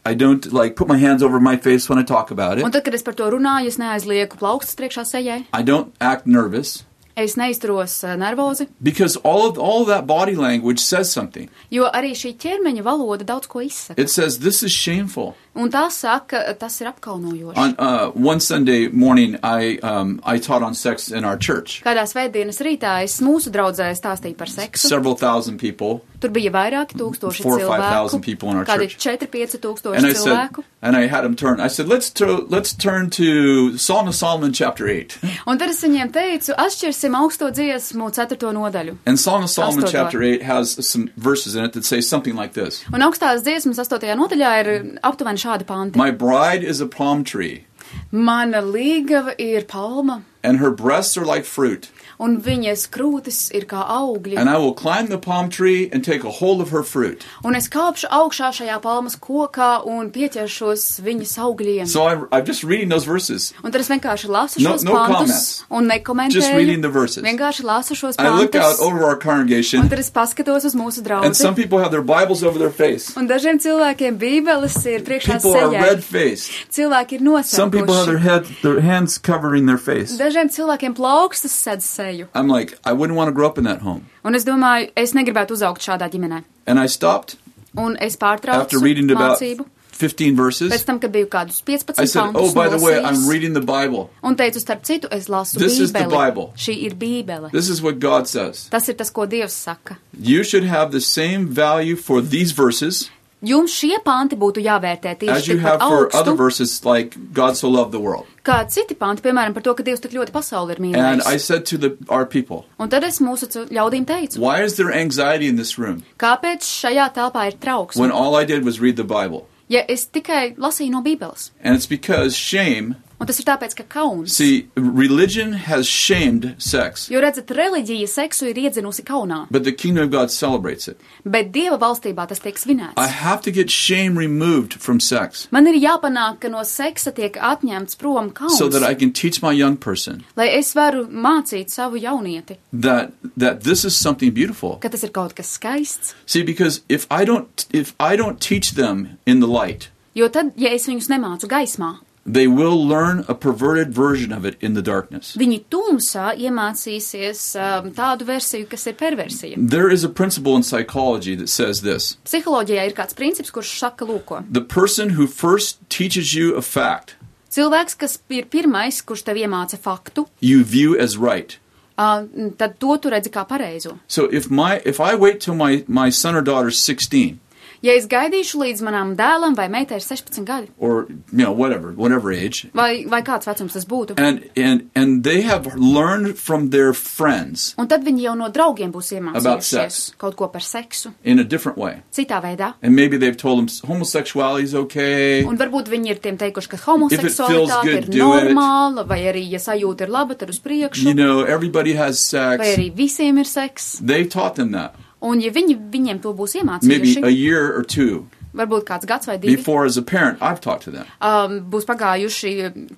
[SPEAKER 6] I don't like put my hands over my face when I talk about
[SPEAKER 7] Un
[SPEAKER 6] it.
[SPEAKER 7] tad, kad es par to runāju, es neaizlieku plaukstas priekšā sejai.
[SPEAKER 6] I don't act nervous
[SPEAKER 7] Es neizturos eh, nervozi,
[SPEAKER 6] because all of all of that body language says something.
[SPEAKER 7] jo arī šī ķermeņa valoda daudz ko izsaka.
[SPEAKER 6] It says this is shameful.
[SPEAKER 7] Un tā saka, eh, tas ir apkaunojoši.
[SPEAKER 6] On uh, one Sunday morning, I um, I taught on sex in our church.
[SPEAKER 7] Kādā svētdienas rītā es mūsu draudzē stāstīju par seksu.
[SPEAKER 6] Several thousand people,
[SPEAKER 7] Tur bija vairāki tūkstoši
[SPEAKER 6] Four or five thousand people in
[SPEAKER 7] cilvēku.
[SPEAKER 6] our
[SPEAKER 7] Kādi
[SPEAKER 6] church.
[SPEAKER 7] 4-5
[SPEAKER 6] and I
[SPEAKER 7] tūkstoši
[SPEAKER 6] said,
[SPEAKER 7] cilvēku.
[SPEAKER 6] and I had him turn. I said, let's to, let's turn to Psalm of Solomon chapter eight.
[SPEAKER 7] Un tad es viņiem teicu, atšķirsim augsto dziesmu 4. nodaļu.
[SPEAKER 6] And Psalm of Solomon
[SPEAKER 7] Pastor,
[SPEAKER 6] chapter
[SPEAKER 7] go
[SPEAKER 6] eight has some verses in it that say something like this:
[SPEAKER 7] Un augstās dziesmas 8. nodaļā ir aptuveni šādi panti.
[SPEAKER 6] My bride is a palm tree,
[SPEAKER 7] Mana līgava ir palma,
[SPEAKER 6] and her breasts are like fruit.
[SPEAKER 7] un viņas krūtis ir kā augļi.
[SPEAKER 6] And I will climb the palm tree and take a hold of her fruit.
[SPEAKER 7] Un es kāpšu augšā šajā palmas kokā un pieķeršos viņas augļiem.
[SPEAKER 6] So I, I'm just reading those verses.
[SPEAKER 7] Un tad es vienkārši lasu
[SPEAKER 6] No-
[SPEAKER 7] šos
[SPEAKER 6] no
[SPEAKER 7] pantus
[SPEAKER 6] comments.
[SPEAKER 7] un
[SPEAKER 6] Just reading the
[SPEAKER 7] nekomentēju.
[SPEAKER 6] verses.
[SPEAKER 7] Vienkārši lasu šos
[SPEAKER 6] I look out
[SPEAKER 7] pantus.
[SPEAKER 6] over our
[SPEAKER 7] Un
[SPEAKER 6] congregation,
[SPEAKER 7] tad es paskatos uz mūsu
[SPEAKER 6] and some
[SPEAKER 7] draugu.
[SPEAKER 6] people have their Bibles over their face.
[SPEAKER 7] Un dažiem cilvēkiem bībeles ir priekšā
[SPEAKER 6] People are
[SPEAKER 7] sejai.
[SPEAKER 6] red faced.
[SPEAKER 7] Cilvēki ir
[SPEAKER 6] Some people have their
[SPEAKER 7] nosaukuši.
[SPEAKER 6] head, their hands covering their face.
[SPEAKER 7] Dažiem cilvēkiem plaukstas sedz seju.
[SPEAKER 6] I'm like, I wouldn't want to grow up in that home.
[SPEAKER 7] Un es domāju, es negribētu uzaugt šādā ģimenē.
[SPEAKER 6] And I stopped
[SPEAKER 7] Un es
[SPEAKER 6] after
[SPEAKER 7] pārtraucu
[SPEAKER 6] reading about
[SPEAKER 7] mācību.
[SPEAKER 6] 15
[SPEAKER 7] Pēc
[SPEAKER 6] verses.
[SPEAKER 7] tam, kad biju kādus 15
[SPEAKER 6] I said,
[SPEAKER 7] pantus
[SPEAKER 6] Oh, by the way, I'm
[SPEAKER 7] nolasījis,
[SPEAKER 6] reading the Bible.
[SPEAKER 7] un teicu, starp citu, es lasu
[SPEAKER 6] This is the
[SPEAKER 7] Bībeli.
[SPEAKER 6] Bible.
[SPEAKER 7] Šī ir Bībele.
[SPEAKER 6] This is what God says.
[SPEAKER 7] Tas ir tas, ko Dievs saka.
[SPEAKER 6] You should have the same value for these verses
[SPEAKER 7] Jums šie panti būtu jāvērtē
[SPEAKER 6] as
[SPEAKER 7] tieši
[SPEAKER 6] you
[SPEAKER 7] tikpat
[SPEAKER 6] have for other
[SPEAKER 7] augstu,
[SPEAKER 6] verses like God so loved the world.
[SPEAKER 7] kā citi panti, piemēram, par to, ka Dievs tik ļoti pasauli ir
[SPEAKER 6] And I
[SPEAKER 7] mīlējis.
[SPEAKER 6] said to the, our people,
[SPEAKER 7] Un tad es mūsu cil- ļaudīm teicu,
[SPEAKER 6] Why is there anxiety in this room
[SPEAKER 7] kāpēc šajā telpā ir
[SPEAKER 6] when
[SPEAKER 7] trauksme,
[SPEAKER 6] all I did was read the Bible?
[SPEAKER 7] ja es tikai lasīju no Bībeles.
[SPEAKER 6] And it's because shame,
[SPEAKER 7] Un tas ir tāpēc, ka kauns.
[SPEAKER 6] see, religion has shamed sex,
[SPEAKER 7] Jo redzat, reliģija seksu ir iedzinusi kaunā,
[SPEAKER 6] but the kingdom of God celebrates it.
[SPEAKER 7] bet Dieva valstībā tas tiek svinēts.
[SPEAKER 6] I have to get shame removed from sex
[SPEAKER 7] Man ir jāpanāk, ka no seksa tiek atņemts prom kauns,
[SPEAKER 6] so that I can teach my young person
[SPEAKER 7] lai es varu mācīt savu jaunieti,
[SPEAKER 6] that that this is something beautiful.
[SPEAKER 7] ka tas ir kaut kas skaists.
[SPEAKER 6] See, because if I don't if I don't teach them in the light,
[SPEAKER 7] Jo tad, ja es viņus nemācu gaismā,
[SPEAKER 6] they will learn a perverted version of it in the darkness.
[SPEAKER 7] Viņi tumsā iemācīsies um, tādu versiju, kas ir perversija.
[SPEAKER 6] There is a principle in psychology that says this
[SPEAKER 7] Psiholoģijā ir kāds princips, kurš saka, lūko,
[SPEAKER 6] the person who first teaches you a fact
[SPEAKER 7] cilvēks, kas ir pirmais, kurš tev iemāca faktu,
[SPEAKER 6] you view as right.
[SPEAKER 7] uh, tad to tu redzi kā pareizo.
[SPEAKER 6] So if my if I wait till my, my son or daughter's 16
[SPEAKER 7] Ja es gaidīšu līdz manam dēlam vai meitai ir 16 gadi,
[SPEAKER 6] or you know whatever whatever age
[SPEAKER 7] vai, vai kāds vecums tas būtu,
[SPEAKER 6] and and and they have learned from their friends
[SPEAKER 7] un tad viņi jau no draugiem būs
[SPEAKER 6] About
[SPEAKER 7] iemācījušies
[SPEAKER 6] sex.
[SPEAKER 7] kaut ko par seksu,
[SPEAKER 6] in a different way.
[SPEAKER 7] citā veidā.
[SPEAKER 6] And maybe they've told them s- homosexuality is okay.
[SPEAKER 7] Un varbūt viņi ir tiem teikuši, ka
[SPEAKER 6] feels
[SPEAKER 7] homoseksualitāte
[SPEAKER 6] good,
[SPEAKER 7] ir
[SPEAKER 6] do it.
[SPEAKER 7] normāla, vai arī, ja sajūta ir laba, tad uz priekšu,
[SPEAKER 6] You know, everybody has sex.
[SPEAKER 7] vai arī visiem ir seks.
[SPEAKER 6] They taught them that.
[SPEAKER 7] Un ja viņi viņiem to būs
[SPEAKER 6] Maybe a
[SPEAKER 7] iemācījuši,
[SPEAKER 6] year or two
[SPEAKER 7] varbūt kāds gads vai divi.
[SPEAKER 6] before, as a parent, I've talked to them.
[SPEAKER 7] um, būs pagājuši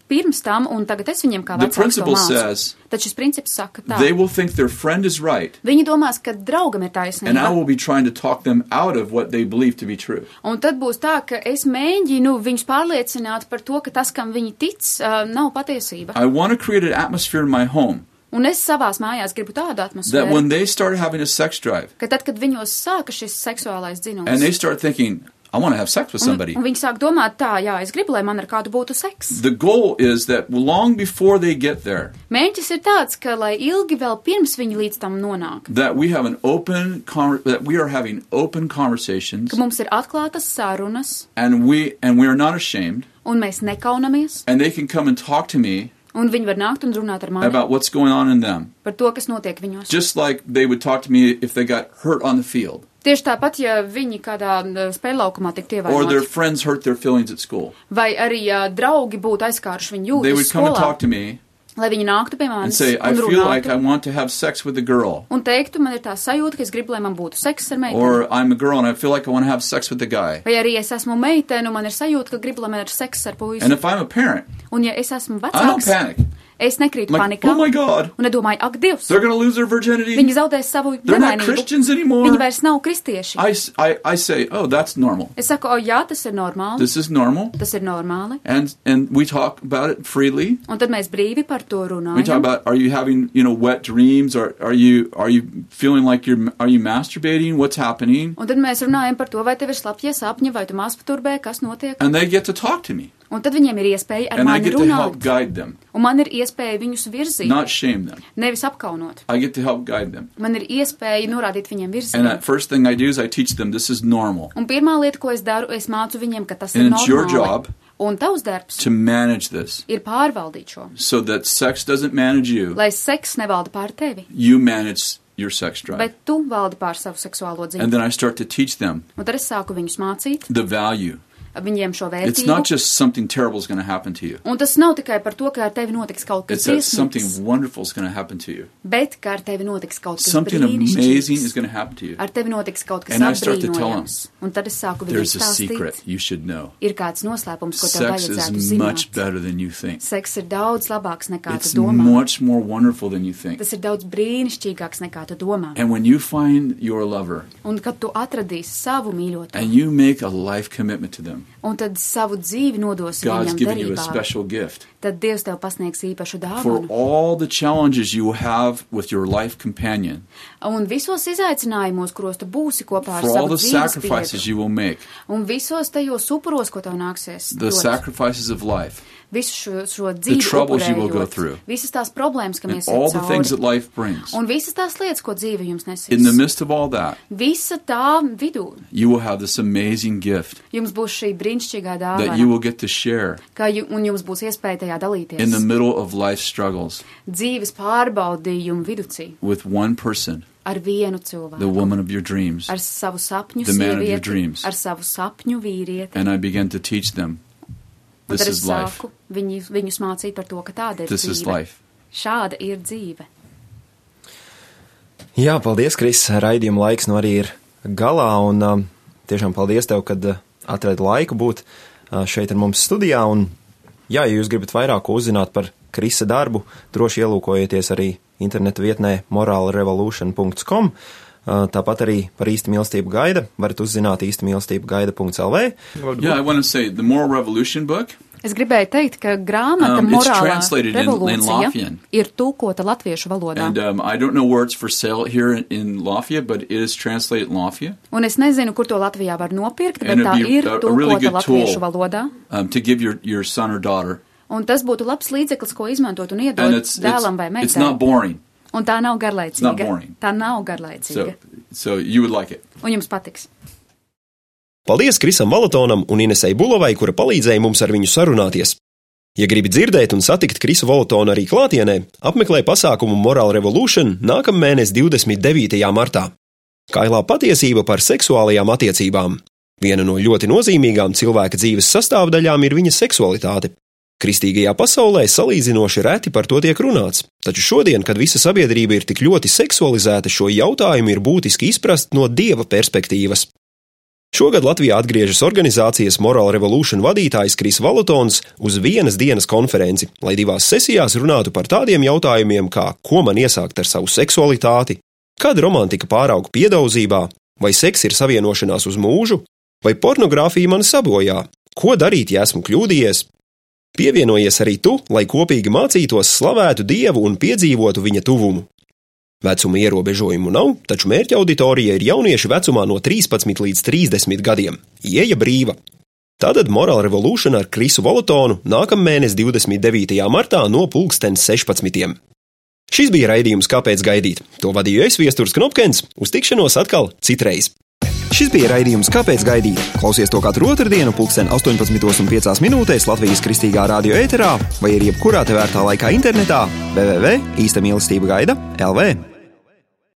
[SPEAKER 7] pirms tam, un tagad es viņiem kā
[SPEAKER 6] The
[SPEAKER 7] vecāks to
[SPEAKER 6] principle
[SPEAKER 7] mācu.
[SPEAKER 6] says-
[SPEAKER 7] Tad šis princips saka tā.
[SPEAKER 6] They will think their friend is right,
[SPEAKER 7] Viņi domās, ka draugam ir
[SPEAKER 6] and I will
[SPEAKER 7] taisnība.
[SPEAKER 6] be trying to talk them out of what they believe to be true.
[SPEAKER 7] Un tad būs tā, ka es mēģinu viņus pārliecināt par to, ka tas, kam viņi tic, uh, nav patiesība.
[SPEAKER 6] I want to create an atmosphere in my home
[SPEAKER 7] Un es savās mājās gribu tādu
[SPEAKER 6] that when
[SPEAKER 7] atmosfēru,
[SPEAKER 6] they start having a sex drive
[SPEAKER 7] ka tad, kad viņos sāka šis seksuālais
[SPEAKER 6] and they
[SPEAKER 7] dzinums,
[SPEAKER 6] start thinking, I want to have sex with somebody,
[SPEAKER 7] un viņi sāk domāt tā, jā, es gribu, lai man ar kādu būtu seks.
[SPEAKER 6] the goal is that long before they get there,
[SPEAKER 7] Mērķis ir tāds, ka lai ilgi vēl pirms viņi līdz tam nonāk,
[SPEAKER 6] that we have an open con- that we are having open conversations
[SPEAKER 7] ka mums ir atklātas sarunas,
[SPEAKER 6] and we and we are not ashamed
[SPEAKER 7] un mēs nekaunamies.
[SPEAKER 6] and they can come and talk to me
[SPEAKER 7] Un viņi var nākt un runāt ar mani
[SPEAKER 6] about what's going on in them
[SPEAKER 7] par to, kas notiek viņos.
[SPEAKER 6] just like they would talk to me if they got hurt on the field
[SPEAKER 7] Tieši tāpat, ja viņi kādā eh, spēlaukumā tiktu
[SPEAKER 6] or their
[SPEAKER 7] ievainoti,
[SPEAKER 6] friends hurt their feelings at school
[SPEAKER 7] vai arī ja draugi būtu aizkāruši viņu
[SPEAKER 6] they would
[SPEAKER 7] jūtas
[SPEAKER 6] come and
[SPEAKER 7] skolā,
[SPEAKER 6] talk to me
[SPEAKER 7] lai viņi nāktu pie
[SPEAKER 6] and
[SPEAKER 7] manis
[SPEAKER 6] say i
[SPEAKER 7] un
[SPEAKER 6] feel like i
[SPEAKER 7] runātu
[SPEAKER 6] want to have sex with a girl
[SPEAKER 7] un teiktu, man ir tā sajūta, ka es gribu, lai man būtu seks ar meiteni.
[SPEAKER 6] or i'm a girl and i feel like i want to have sex with a guy
[SPEAKER 7] Vai arī es esmu meitene, un man ir sajūta, ka gribu, lai man ir seks ar
[SPEAKER 6] and
[SPEAKER 7] puisi.
[SPEAKER 6] if i'm a parent
[SPEAKER 7] Un ja es esmu
[SPEAKER 6] i don't
[SPEAKER 7] vecāks,
[SPEAKER 6] panic
[SPEAKER 7] es nekrītu
[SPEAKER 6] I'm like
[SPEAKER 7] panikā
[SPEAKER 6] oh my god
[SPEAKER 7] un nedomāju, ak, Dievs,
[SPEAKER 6] they're going to lose their virginity
[SPEAKER 7] viņi zaudēs savu
[SPEAKER 6] they're not
[SPEAKER 7] nevainību.
[SPEAKER 6] christians anymore
[SPEAKER 7] Viņi vairs nav kristieši.
[SPEAKER 6] I, s- I- I say oh that's normal
[SPEAKER 7] Es saku, o jā, tas ir normāli,
[SPEAKER 6] this is normal
[SPEAKER 7] tas ir normāli.
[SPEAKER 6] and and we talk about it freely
[SPEAKER 7] Un tad mēs brīvi par to
[SPEAKER 6] We talk
[SPEAKER 7] runājam.
[SPEAKER 6] about are you having you know wet dreams or are you are you feeling like you're are you masturbating? What's happening?
[SPEAKER 7] Un tad mēs runājam par to, vai tev ir slapja sapņa, vai tu masturbē, kas notiek.
[SPEAKER 6] And they get to talk to me,
[SPEAKER 7] Un tad viņiem ir iespēja ar
[SPEAKER 6] and I
[SPEAKER 7] mani
[SPEAKER 6] get to help
[SPEAKER 7] runāt.
[SPEAKER 6] guide them,
[SPEAKER 7] Un man ir iespēja viņus virzīt,
[SPEAKER 6] not shame them.
[SPEAKER 7] nevis apkaunot.
[SPEAKER 6] I get to help guide them.
[SPEAKER 7] Man ir iespēja norādīt viņiem
[SPEAKER 6] And that
[SPEAKER 7] virzienu.
[SPEAKER 6] first thing I do is I teach them this is normal
[SPEAKER 7] Un pirmā lieta, ko es daru, es mācu viņiem, ka tas
[SPEAKER 6] And
[SPEAKER 7] ir
[SPEAKER 6] it's your job.
[SPEAKER 7] normāli. Un tavs darbs
[SPEAKER 6] to manage this
[SPEAKER 7] ir pārvaldīt šo.
[SPEAKER 6] so that sex doesn't manage you,
[SPEAKER 7] Lai seks nevalda pār tevi,
[SPEAKER 6] you manage your sex drive.
[SPEAKER 7] bet tu valdi pār savu seksuālo
[SPEAKER 6] And
[SPEAKER 7] dzīvi.
[SPEAKER 6] then I start to teach them
[SPEAKER 7] Un tad es sāku viņus mācīt,
[SPEAKER 6] the value.
[SPEAKER 7] viņiem šo
[SPEAKER 6] It's not
[SPEAKER 7] vērtību.
[SPEAKER 6] just something terrible is going to happen to you.
[SPEAKER 7] Un tas nav tikai par to, ka ar tevi notiks kaut kas
[SPEAKER 6] It's that
[SPEAKER 7] briesmīgs.
[SPEAKER 6] something wonderful is going to happen to you.
[SPEAKER 7] Bet kā ar tevi notiks kaut kas
[SPEAKER 6] Something amazing is
[SPEAKER 7] brīnišķīgs,
[SPEAKER 6] going to happen to you.
[SPEAKER 7] ar tevi notiks kaut kas
[SPEAKER 6] And I start to tell
[SPEAKER 7] apbrīnojams, un tad es sāku viņam
[SPEAKER 6] There's a secret
[SPEAKER 7] stāstīt,
[SPEAKER 6] you should know.
[SPEAKER 7] ir kāds noslēpums, ko tev
[SPEAKER 6] Sex
[SPEAKER 7] vajadzētu
[SPEAKER 6] is
[SPEAKER 7] zināt.
[SPEAKER 6] much better than you think.
[SPEAKER 7] Seks ir daudz labāks nekā
[SPEAKER 6] It's
[SPEAKER 7] tu domā.
[SPEAKER 6] much more wonderful than you think.
[SPEAKER 7] Tas ir daudz brīnišķīgāks nekā tu domā.
[SPEAKER 6] And when you find your lover
[SPEAKER 7] Un kad tu atradīsi savu mīļoto,
[SPEAKER 6] and you make a life commitment to them,
[SPEAKER 7] un tad savu dzīvi nodosi
[SPEAKER 6] God's
[SPEAKER 7] viņam
[SPEAKER 6] giving you a
[SPEAKER 7] derībā,
[SPEAKER 6] special gift
[SPEAKER 7] tad Dievs tev pasniegs īpašu
[SPEAKER 6] for
[SPEAKER 7] dāvanu.
[SPEAKER 6] all the challenges you will have with your life companion,
[SPEAKER 7] Un visos izaicinājumos, kuros tu būsi kopā ar
[SPEAKER 6] for all the
[SPEAKER 7] savu dzīves
[SPEAKER 6] sacrifices
[SPEAKER 7] biedru,
[SPEAKER 6] you will make,
[SPEAKER 7] un visos tajos upuros, ko tev nāksies
[SPEAKER 6] the
[SPEAKER 7] dot.
[SPEAKER 6] sacrifices of life,
[SPEAKER 7] visu šo, šo dzīvi,
[SPEAKER 6] troubles you will go
[SPEAKER 7] upurējot,
[SPEAKER 6] through.
[SPEAKER 7] visas tās problēmas, kam
[SPEAKER 6] and
[SPEAKER 7] mēs
[SPEAKER 6] all the things that
[SPEAKER 7] esam
[SPEAKER 6] life brings.
[SPEAKER 7] un visas tās lietas, ko dzīve jums
[SPEAKER 6] In the
[SPEAKER 7] nesīs.
[SPEAKER 6] midst of all that,
[SPEAKER 7] Visa tā vidū
[SPEAKER 6] you will have this amazing gift
[SPEAKER 7] jums būs šī brīnišķīgā
[SPEAKER 6] that you
[SPEAKER 7] dāvana,
[SPEAKER 6] will get to share
[SPEAKER 7] kā ju, un jums būs iespēja tajā dalīties
[SPEAKER 6] in the middle of life's struggles
[SPEAKER 7] dzīves pārbaudījumu viducī
[SPEAKER 6] with one person,
[SPEAKER 7] ar vienu
[SPEAKER 6] the
[SPEAKER 7] cilvēku,
[SPEAKER 6] woman of your dreams.
[SPEAKER 7] ar savu sapņu
[SPEAKER 6] the man of your
[SPEAKER 7] sievieti,
[SPEAKER 6] dreams.
[SPEAKER 7] ar savu sapņu vīrieti.
[SPEAKER 6] and I began to teach them
[SPEAKER 7] Un
[SPEAKER 6] this
[SPEAKER 7] tad
[SPEAKER 6] is
[SPEAKER 7] es
[SPEAKER 6] life.
[SPEAKER 7] sāku viņu, viņus mācīt par to, ka tāda ir
[SPEAKER 6] This is
[SPEAKER 7] dzīve.
[SPEAKER 6] life.
[SPEAKER 7] Šāda ir dzīve.
[SPEAKER 8] Jā, paldies, Kris. Raidījuma laiks nu arī ir galā. Un um, tiešām paldies tev, kad uh, atradi laiku būt uh, šeit ar mums studijā. Un, jā, ja jūs gribat vairāk ko uzzināt par Krisa darbu, droši ielūkojieties arī interneta vietnē morālrevolution.com. Uh, Tāpat arī par īstu mīlestību gaida varat uzzināt īstamīlestību gaida.lv.
[SPEAKER 6] Yeah, I want to say the Moral Revolution book
[SPEAKER 7] Es gribēju teikt, ka grāmata
[SPEAKER 6] Um, it's
[SPEAKER 7] morālā
[SPEAKER 6] translated in- in
[SPEAKER 7] revolūcija
[SPEAKER 6] Latvian.
[SPEAKER 7] ir tūkota latviešu valodā.
[SPEAKER 6] And um, I don't know where it's for sale here in, in Lafayette, but it is translated in Lafayette.
[SPEAKER 7] Un es nezinu, kur to Latvijā var nopirkt, bet
[SPEAKER 6] And
[SPEAKER 7] tā
[SPEAKER 6] it'd be
[SPEAKER 7] ir
[SPEAKER 6] a- a
[SPEAKER 7] tūkota
[SPEAKER 6] really good
[SPEAKER 7] latviešu
[SPEAKER 6] tool.
[SPEAKER 7] valodā.
[SPEAKER 6] um, to give your, your son or daughter.
[SPEAKER 7] Un tas būtu labs līdzeklis, ko izmantot un
[SPEAKER 6] And
[SPEAKER 7] iedot
[SPEAKER 6] it's, it's,
[SPEAKER 7] dēlam vai
[SPEAKER 6] it's not
[SPEAKER 7] meitai.
[SPEAKER 6] boring.
[SPEAKER 7] Un tā nav
[SPEAKER 6] It's not
[SPEAKER 7] garlaicīga.
[SPEAKER 6] boring.
[SPEAKER 7] Tā
[SPEAKER 6] So,
[SPEAKER 7] nav garlaicīga.
[SPEAKER 6] so you would like it.
[SPEAKER 7] Un jums patiks.
[SPEAKER 5] Paldies Krisam Valatonam un Inesai Bulovai, kura palīdzēja mums ar viņu sarunāties. Ja gribi dzirdēt un satikt Krisu Valatonu arī klātienē, apmeklē pasākumu Moral Revolution nākamnedēļ 29. martā. Kailā patiesība par seksuālajām attiecībām. Viena no ļoti nozīmīgām cilvēka dzīves sastāvdaļām ir viņa seksualitāte. Kristīgajā pasaulē salīdzinoši reti par to tiek runāts, taču šodien, kad visa sabiedrība ir tik ļoti seksualizēta, šo jautājumu ir būtiski izprast no dieva perspektīvas. Šogad Latvijā atgriežas organizācijas Moral Revolution vadītājs Kris Valutons uz vienas dienas konferenci, lai divās sesijās runātu par tādiem jautājumiem, kā ko man iesākt ar savu seksualitāti, kad romantika pārauga piedaudzībā, vai seks ir savienošanās uz mūžu, vai pornogrāfija mani sabojā, ko darīt, ja esmu kļūdījies. Pievienojies arī tu, lai kopīgi mācītos, slavētu Dievu un piedzīvotu viņa tuvumu. Vecuma ierobežojumu nav, taču mērķa auditorija ir jaunieši vecumā no 13 līdz 30 gadiem. Ieja brīva. Tātad Moral Revolution ar Krisu Volotonu nākamnedēļ 29. martā no 2016. Šis bija raidījums Kāpēc gaidīt? To vadīju es Viestures Knopkins, uz tikšanos atkal citreiz.
[SPEAKER 1] Šis bija raidījums Kāpēc gaidīt? Klausies to katru otrdienu, pulksten 18,5 minūtēs Latvijas kristīgā radio ēterā vai arī jebkurā tevērtā laikā internetā www.īsta mīlestība gaida LV.